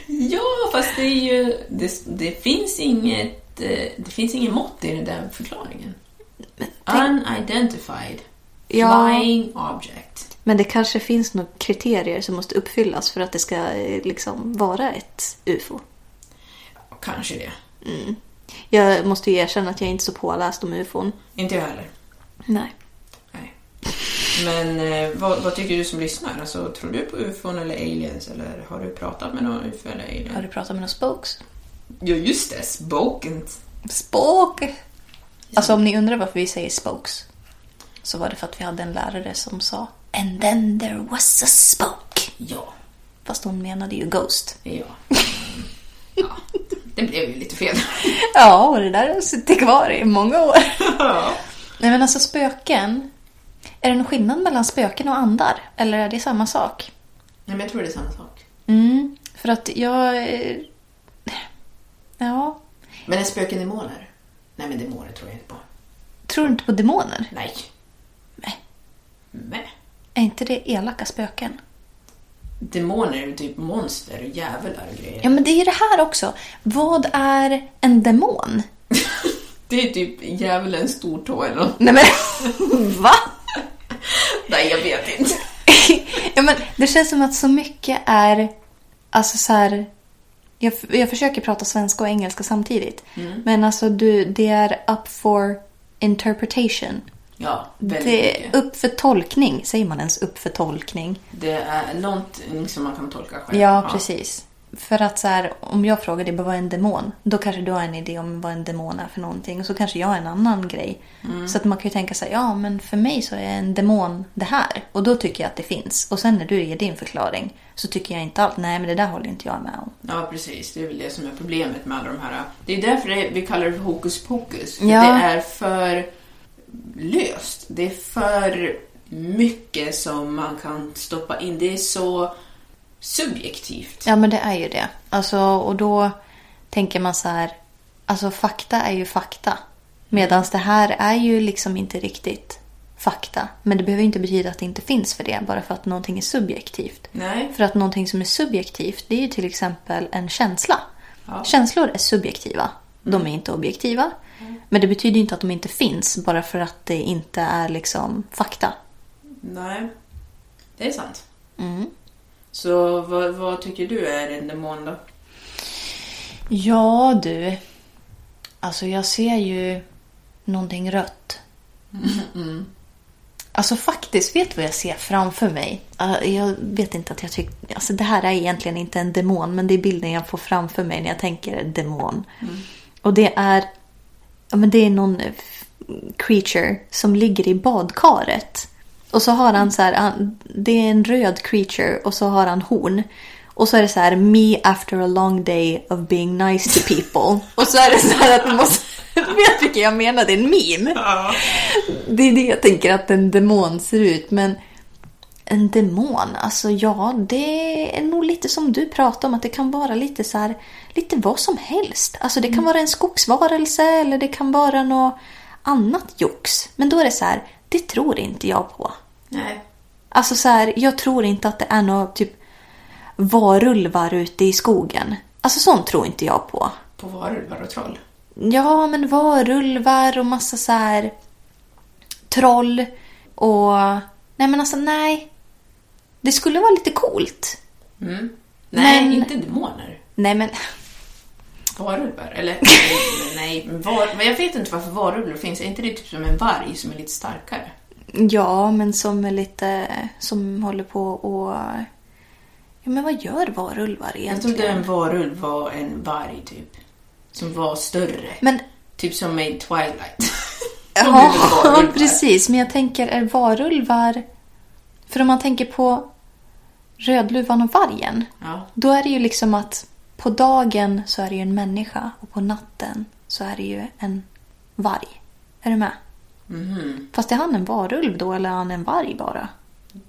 Speaker 3: Ja, fast det är ju... Det, det finns inget... eh, Det finns ingen mått i den där förklaringen. Unidentified flying object.
Speaker 4: Men det kanske finns några kriterier som måste uppfyllas för att det ska eh, liksom vara ett UFO.
Speaker 3: Kanske det.
Speaker 4: Jag måste ju erkänna att jag är inte är så påläst om UFOn.
Speaker 3: Inte jag heller.
Speaker 4: Nej.
Speaker 3: Nej. Men eh, vad, vad tycker du som lyssnar? Alltså, tror du på ufon eller aliens? Eller har du pratat med någon ufo eller alien?
Speaker 4: du pratat med några spokes?
Speaker 3: Ja, just det. Spokent.
Speaker 4: Spoke! Alltså om ni undrar varför vi säger spokes så var det för att vi hade en lärare som sa “And then there was a spoke”.
Speaker 3: Ja.
Speaker 4: Fast hon menade ju Ghost.
Speaker 3: Ja. ja. Det blev ju lite fel.
Speaker 4: Ja, och det där har suttit kvar i många år.
Speaker 3: Ja.
Speaker 4: Nej men alltså spöken. Är det någon skillnad mellan spöken och andar? Eller är det samma sak?
Speaker 3: Nej, men jag tror det är samma sak.
Speaker 4: Mm, för att jag... eh, Ja.
Speaker 3: Men är spöken demoner? Nej, men demoner tror jag inte på.
Speaker 4: Tror du inte på demoner?
Speaker 3: Nej.
Speaker 4: Nej.
Speaker 3: Nej.
Speaker 4: Är inte det elaka spöken?
Speaker 3: Demoner är ju typ monster och djävlar och grejer.
Speaker 4: Ja men det är ju det här också. Vad är en demon?
Speaker 3: Det är typ djävulens stortå eller något.
Speaker 4: Nej men va?
Speaker 3: Nej, jag vet inte.
Speaker 4: ja, men det känns som att så mycket är... Alltså så här... Jag, jag försöker prata svenska och engelska samtidigt.
Speaker 3: Mm.
Speaker 4: Men alltså du, det är up for interpretation.
Speaker 3: Ja, väldigt
Speaker 4: Det
Speaker 3: mycket.
Speaker 4: är upp för tolkning. Säger man ens upp för tolkning?
Speaker 3: Det är någonting som man kan tolka själv.
Speaker 4: Ja, precis. För att så här, om jag frågar dig vad är en demon? Då kanske du har en idé om vad en demon är för någonting. Och så kanske jag har en annan grej. Så att man kan ju tänka så här, ja men för mig så är en demon det här. Och då tycker jag att det finns. Och sen när du ger din förklaring så tycker jag inte allt. Nej men det där håller inte jag med om.
Speaker 3: Ja, precis. Det är väl det som är problemet med alla de här. Det är därför det, vi kallar det för hokus pokus. För
Speaker 4: Ja.
Speaker 3: Det är för löst. Det är för mycket som man kan stoppa in. Det är så subjektivt.
Speaker 4: Ja men det är ju det. Alltså, och då tänker man så här, alltså fakta är ju fakta. Medan det här är ju liksom inte riktigt fakta. Men det behöver ju inte betyda att det inte finns för det, bara för att någonting är subjektivt.
Speaker 3: Nej.
Speaker 4: För att någonting som är subjektivt, det är ju till exempel en känsla. Känslor är subjektiva. De är inte objektiva. Men det betyder ju inte att de inte finns bara för att det inte är liksom fakta.
Speaker 3: Nej. Det är sant.
Speaker 4: Mm.
Speaker 3: Så vad, vad tycker du är en demon då?
Speaker 4: Ja du. Alltså jag ser ju någonting rött. Mm. Alltså faktiskt, vet du vad jag ser framför mig? Eh, Jag vet inte att jag tycker... Alltså det här är egentligen inte en demon, men det är bilden jag får framför mig när jag tänker demon. Och det är... Ja men det är någon eh, f- creature som ligger i badkaret. Och så har han så här... Han, det är en röd creature och så har han horn. Och så är det så här me after a long day of being nice to people. Och så är det så här att man måste... Vet vilken jag menar? Det är en meme. Det är det jag tänker att en demon ser ut. Men en demon, alltså ja, det är nog lite som du pratar om. Att det kan vara lite så här, lite vad som helst. Alltså det kan vara en skogsvarelse eller det kan vara något annat jox. Men då är det så här, det tror inte jag på.
Speaker 3: Nej.
Speaker 4: Alltså så här, jag tror inte att det är något typ varulvar ute i skogen. Alltså sånt tror inte jag på.
Speaker 3: på varulvar och troll.
Speaker 5: Ja, men varulvar och massa så här troll och... Nej, men alltså nej. Det skulle vara lite coolt.
Speaker 3: Nej,
Speaker 5: Men-
Speaker 3: inte demoner.
Speaker 5: Nej, men
Speaker 3: Varulvar. Eller nej, nej. men Var, men jag vet inte varför varulvar finns. Är inte det typ som en varg som är lite starkare?
Speaker 5: ja, men som är lite... Som håller på och... Ja, men vad gör varulvar
Speaker 3: Jag trodde
Speaker 5: egentligen?
Speaker 3: en varulv var en varg typ. Som var större.
Speaker 5: Men
Speaker 3: Typ som i Twilight. Som
Speaker 5: Ja,
Speaker 3: är varulvar.
Speaker 5: precis. Men jag tänker, är varulvar... För om man tänker på Rödluvan och vargen.
Speaker 3: Ja.
Speaker 5: Då är det ju liksom att på dagen så är det ju en människa och på natten så är det ju en varg. Är du med?
Speaker 3: mhm.
Speaker 5: Fast är han en varulv då eller är han en varg bara?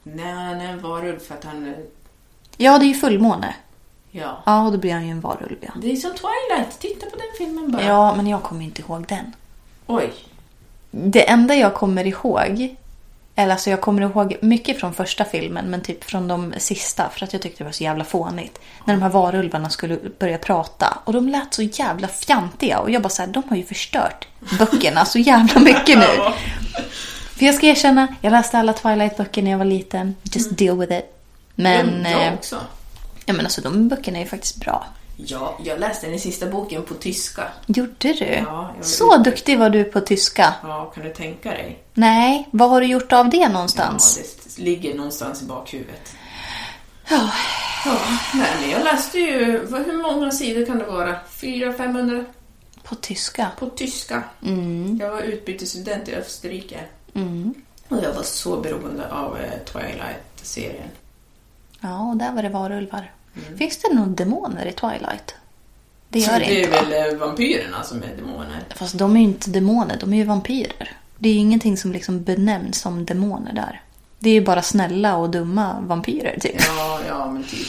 Speaker 3: Nej, han är en varulv för att han... är-
Speaker 5: Ja, det är ju fullmåne.
Speaker 3: Ja.
Speaker 5: Ja, och då blir han ju en varulv ja.
Speaker 3: Det är som Twilight. Titta på den filmen bara.
Speaker 5: Ja, men jag kommer inte ihåg den.
Speaker 3: Oj.
Speaker 5: Det enda jag kommer ihåg, eller alltså jag kommer ihåg mycket från första filmen men typ från de sista för att jag tyckte det var så jävla fånigt. När de här varulvarna skulle börja prata och de lät så jävla fjantiga och jag bara såhär, de har ju förstört böckerna så jävla mycket nu. För jag ska erkänna, jag läste alla Twilight-böcker när jag var liten. Just
Speaker 3: Mm.
Speaker 5: deal with it. Men, eh,
Speaker 3: jag också.
Speaker 5: ja, men alltså de böckerna är ju faktiskt bra.
Speaker 3: Ja, jag läste den sista boken på tyska.
Speaker 5: Gjorde du?
Speaker 3: Ja, jag-
Speaker 5: så duktig var du på tyska.
Speaker 3: Ja, kan du tänka dig?
Speaker 5: Nej, vad har du gjort av det
Speaker 3: Ja,
Speaker 5: någonstans?
Speaker 3: det ligger någonstans i bakhuvudet. Ja. Nej, men jag läste ju... vad- Hur många sidor kan det vara? 400-500
Speaker 5: På tyska?
Speaker 3: på tyska.
Speaker 5: Mm.
Speaker 3: Jag var utbytesstudent i Österrike. Och jag var så beroende av eh, Twilight-serien.
Speaker 5: Ja, och där var det varulvar. Finns det någon demoner i Twilight? Det
Speaker 3: Så
Speaker 5: gör det
Speaker 3: Mm. det
Speaker 5: inte
Speaker 3: är
Speaker 5: va?
Speaker 3: väl eh, vampyrerna som är demoner?
Speaker 5: Fast de är ju inte demoner, de är ju vampyrer. Det är ju ingenting som liksom benämns som demoner där. Det är ju bara snälla och dumma vampyrer typ.
Speaker 3: Ja, ja, men typ.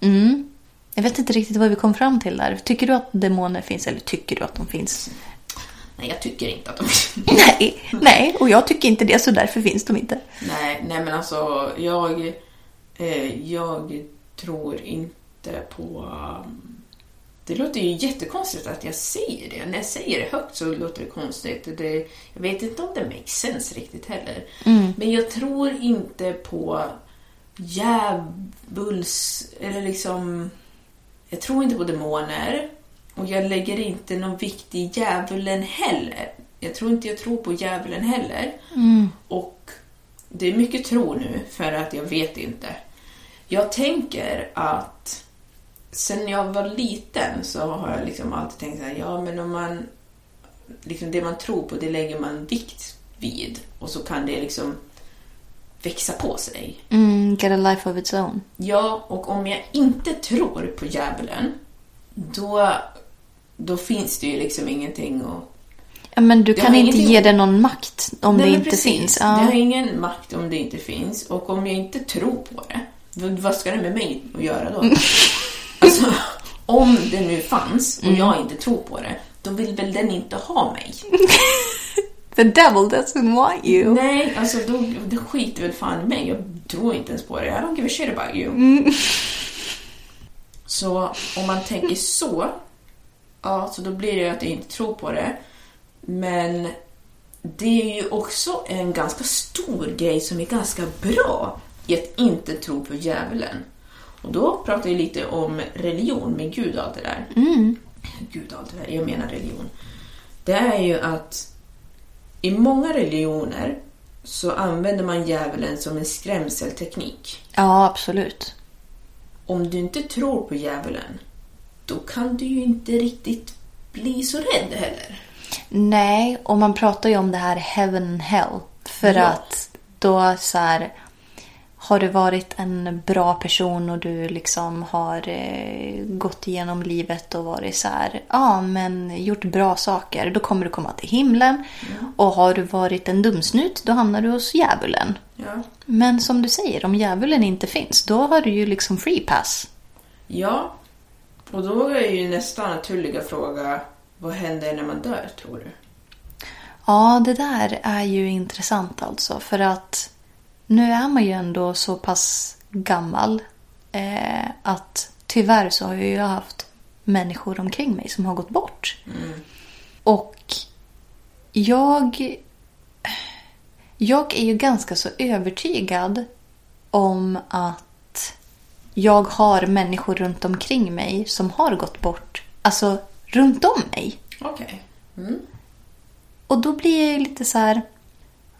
Speaker 5: Mm. Jag vet inte riktigt vad vi kom fram till där. Tycker du att demoner finns eller tycker du att de finns?
Speaker 3: Nej, jag tycker inte att de...
Speaker 5: Nej, nej, och jag tycker inte det så därför finns de inte.
Speaker 3: nej, nej, men alltså jag... Eh, jag tror inte på... um, Det låter ju jättekonstigt att jag säger det. När jag säger det högt så låter det konstigt. Det, jag vet inte om det makes sense riktigt heller. Men jag tror inte på djävuls... Eller liksom... Jag tror inte på demoner. Och jag lägger inte någon vikt i djävulen heller. Jag tror inte jag tror på djävulen heller. Och det är mycket tro nu, för att jag vet inte. Jag tänker att sen jag var liten så har jag liksom alltid tänkt så här, ja men om man... Liksom det man tror på, det lägger man vikt vid. Och så kan det liksom växa på sig.
Speaker 5: Mm, get a life of its own.
Speaker 3: Ja, och om jag inte tror på djävulen, då, då finns det ju liksom ingenting att...
Speaker 5: Ja, men du
Speaker 3: Det
Speaker 5: kan
Speaker 3: har
Speaker 5: inte
Speaker 3: ingenting-
Speaker 5: ge det någon makt om
Speaker 3: Nej,
Speaker 5: det
Speaker 3: men
Speaker 5: inte
Speaker 3: precis.
Speaker 5: finns.
Speaker 3: Det
Speaker 5: Ja.
Speaker 3: har ingen makt om det inte finns. Och om jag inte tror på det, v- vad ska det med mig att göra då? alltså, om det nu fanns
Speaker 5: Mm.
Speaker 3: och jag inte tror på det, då vill väl den inte ha mig?
Speaker 5: The devil doesn't want you.
Speaker 3: Nej, alltså då, det skiter väl fan i mig. Jag tror inte ens på det. I don't give a shit about you. Så om man tänker så, ja, så då blir det ju att jag inte tror på det. Men det är ju också en ganska stor grej som är ganska bra i att inte tro på djävulen. Och då pratar jag lite om religion med Gud och allt det där. Gud och allt det där, jag menar religion. Det är ju att i många religioner så använder man djävulen som en skrämselteknik.
Speaker 5: Ja, absolut.
Speaker 3: Om du inte tror på djävulen, då kan du ju inte riktigt bli så rädd heller.
Speaker 5: Nej, och man pratar ju om det här heaven and hell. För
Speaker 3: Ja.
Speaker 5: att då så här, har du varit en bra person och du liksom har eh, gått igenom livet och varit så här, ja men gjort bra saker, då kommer du komma till himlen. Och har du varit en dumsnut, då hamnar du hos djävulen.
Speaker 3: Ja.
Speaker 5: Men som du säger, om djävulen inte finns, då har du ju liksom free pass.
Speaker 3: ja, och då är ju nästa naturliga fråga, vad händer när man dör tror du?
Speaker 5: Ja, det där är ju intressant alltså. För att nu är man ju ändå så pass gammal eh, att tyvärr så har jag ju haft människor omkring mig som har gått bort. Och jag... Jag är ju ganska så övertygad om att jag har människor runt omkring mig som har gått bort. Alltså, runt om mig.
Speaker 3: Okej.
Speaker 5: Och då blir jag ju lite så här...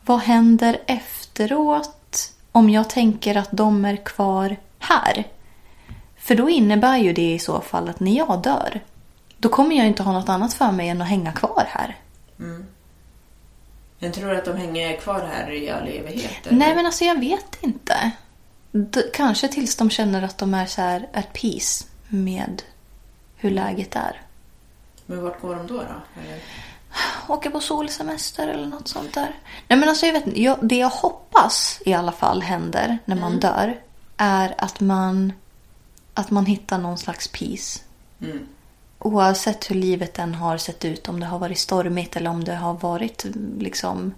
Speaker 5: Vad händer efteråt om jag tänker att de är kvar här? För då innebär ju det i så fall att när jag dör, då kommer jag inte ha något annat för mig än att hänga kvar här.
Speaker 3: Men tror du att de hänger kvar här i all evighet? eller?
Speaker 5: Nej, men alltså jag vet inte. D- kanske tills de känner att de är så här at peace med hur läget är.
Speaker 3: Men vart går de då? då? Eller?
Speaker 5: åka på solsemester eller något sånt där. Nej men alltså jag vet inte. jag, Det jag hoppas i alla fall händer när man dör är att man, att man hittar någon slags peace. Oavsett hur livet än har sett ut, om det har varit stormigt eller om det har varit liksom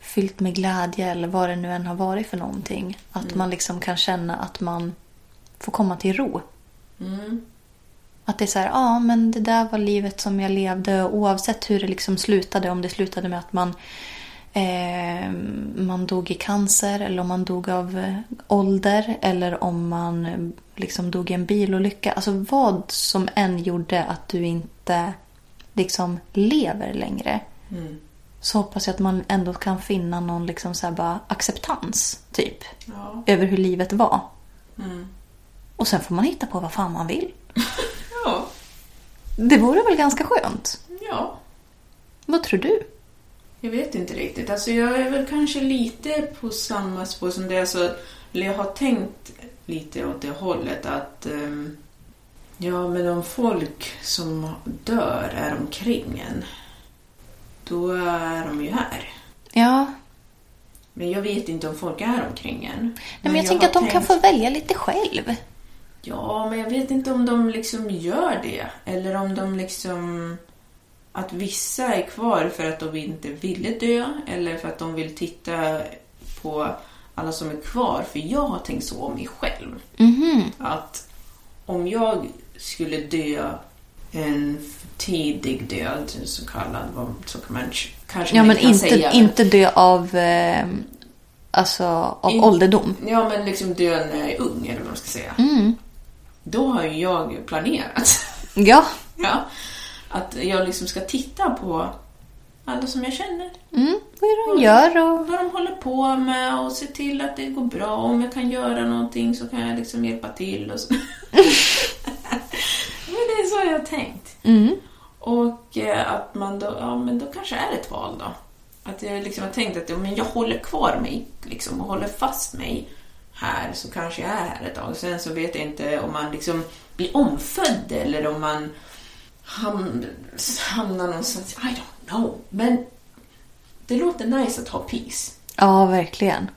Speaker 5: fyllt med glädje eller vad det nu än har varit för någonting. Att man liksom kan känna att man får komma till ro.
Speaker 3: Mm,
Speaker 5: Att det är så här, ja men det där var livet som jag levde oavsett hur det liksom slutade. Om det slutade med att man, eh, man dog i cancer eller om man dog av eh, ålder eller om man eh, liksom dog i en bilolycka. Alltså vad som än gjorde att du inte liksom lever längre. Så hoppas jag att man ändå kan finna någon liksom så här bara acceptans typ.
Speaker 3: Ja.
Speaker 5: Över hur livet var. Och sen får man hitta på vad fan man vill.
Speaker 3: Ja.
Speaker 5: Det vore väl ganska skönt?
Speaker 3: ja,
Speaker 5: Vad tror du?
Speaker 3: jag vet inte riktigt. Alltså jag är väl kanske lite på samma spår som det. Alltså, eller jag har tänkt lite åt det hållet att ehm, ja, men om folk som dör är omkring en, då är de ju här.
Speaker 5: Ja. Nej,
Speaker 3: Men jag vet inte om folk är omkring en. Nej,
Speaker 5: men jag, tänker att de kan få välja lite själv.
Speaker 3: Ja, men jag vet inte om de liksom gör det. Eller om de liksom... Att vissa är kvar för att de inte ville dö eller för att de vill titta på alla som är kvar. För jag har tänkt så om mig själv.
Speaker 5: Mm-hmm.
Speaker 3: Att om jag skulle dö en tidig död, så kallad, vad- så kan man kanske
Speaker 5: Ja,
Speaker 3: man
Speaker 5: men
Speaker 3: kan
Speaker 5: inte,
Speaker 3: säga.
Speaker 5: inte dö av, eh, alltså, av
Speaker 3: In-
Speaker 5: ålderdom.
Speaker 3: Ja, men liksom dö när jag är ung, eller vad man ska säga.
Speaker 5: Mm.
Speaker 3: Då har ju jag planerat.
Speaker 5: Ja.
Speaker 3: Ja. Att jag liksom ska titta på alla som jag känner.
Speaker 5: Mm, vad är det de gör och...
Speaker 3: Vad de håller på med och se till att det går bra. Om jag kan göra någonting så kan jag liksom hjälpa till och så. men det är så jag har tänkt. Och eh, att man då, ja men då kanske är det ett val då. Att jag liksom har tänkt att ja, men jag håller kvar mig liksom och håller fast mig här så kanske jag är här ett tag. Sen så vet jag inte om man liksom blir omfödd eller om man ham- hamnar någonstans. I don't know. Men det låter nice att ha peace.
Speaker 5: Ja, verkligen.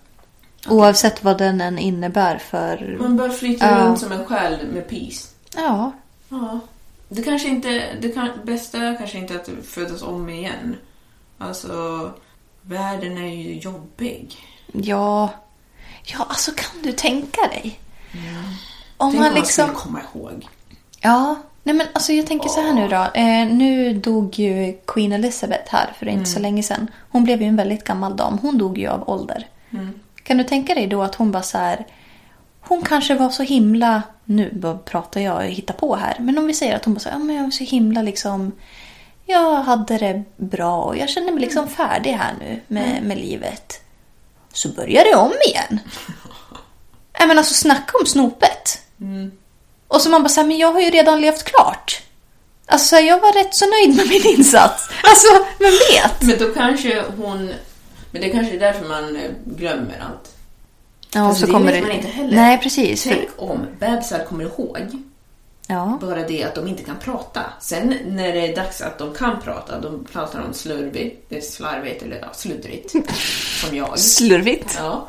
Speaker 5: Oavsett vad den än innebär för...
Speaker 3: Man bör flyta
Speaker 5: Ja.
Speaker 3: runt som en själ med peace.
Speaker 5: Ja.
Speaker 3: Ja. Det kanske inte... Det kan, bästa är kanske inte att födas om igen. Alltså, världen är ju jobbig.
Speaker 5: Ja. Ja, alltså kan du tänka dig? Om
Speaker 3: Tänk
Speaker 5: man
Speaker 3: om man
Speaker 5: liksom...
Speaker 3: skulle komma ihåg.
Speaker 5: Ja, nej men alltså jag tänker så här nu då. Eh, nu dog ju Queen Elizabeth här för inte
Speaker 3: Mm.
Speaker 5: så länge sedan. Hon blev ju en väldigt gammal dam. Hon dog ju av ålder. Kan du tänka dig då att hon bara så här... Hon kanske var så himla... Nu bara pratar jag och hittar på här. Men om vi säger att hon bara så här, ja men jag var så himla liksom... Jag hade det bra och jag känner mig liksom
Speaker 3: Mm.
Speaker 5: färdig här nu med, med livet. Så börjar det om igen. Nej men alltså snacka om snopet.
Speaker 3: Mm.
Speaker 5: Och så man bara såhär, men jag har ju redan levt klart. Alltså jag var rätt så nöjd med min insats. Alltså, vem vet?
Speaker 3: Men då kanske hon... Men det kanske är därför man eh, glömmer allt.
Speaker 5: Ja,
Speaker 3: Alltså, det vet man inte heller.
Speaker 5: Nej, precis.
Speaker 3: Tänk om bebisar kommer ihåg
Speaker 5: Ja.
Speaker 3: bara det att de inte kan prata. Sen när det är dags att de kan prata, då pratar de slurvigt, det är slarvigt eller ja, sluddrigt. som jag.
Speaker 5: Slurvigt.
Speaker 3: Ja.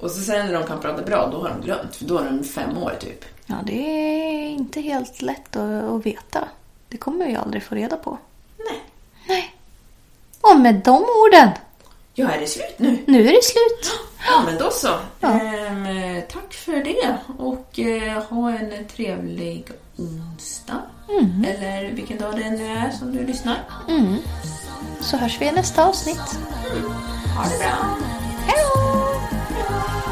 Speaker 3: Och så sen när de kan prata bra, då har de glömt. För då är de fem år typ.
Speaker 5: Ja, det är inte helt lätt att, att veta. Det kommer vi aldrig få reda på.
Speaker 3: Nej.
Speaker 5: Nej. Och med de orden,
Speaker 3: Ja, är det slut nu?
Speaker 5: nu är det slut.
Speaker 3: Ja, men då så. Ehm, tack för det och eh, ha en trevlig onsdag. Eller vilken dag det nu är som du lyssnar.
Speaker 5: Så hörs vi i nästa avsnitt.
Speaker 3: Ha det bra!
Speaker 5: Hej då!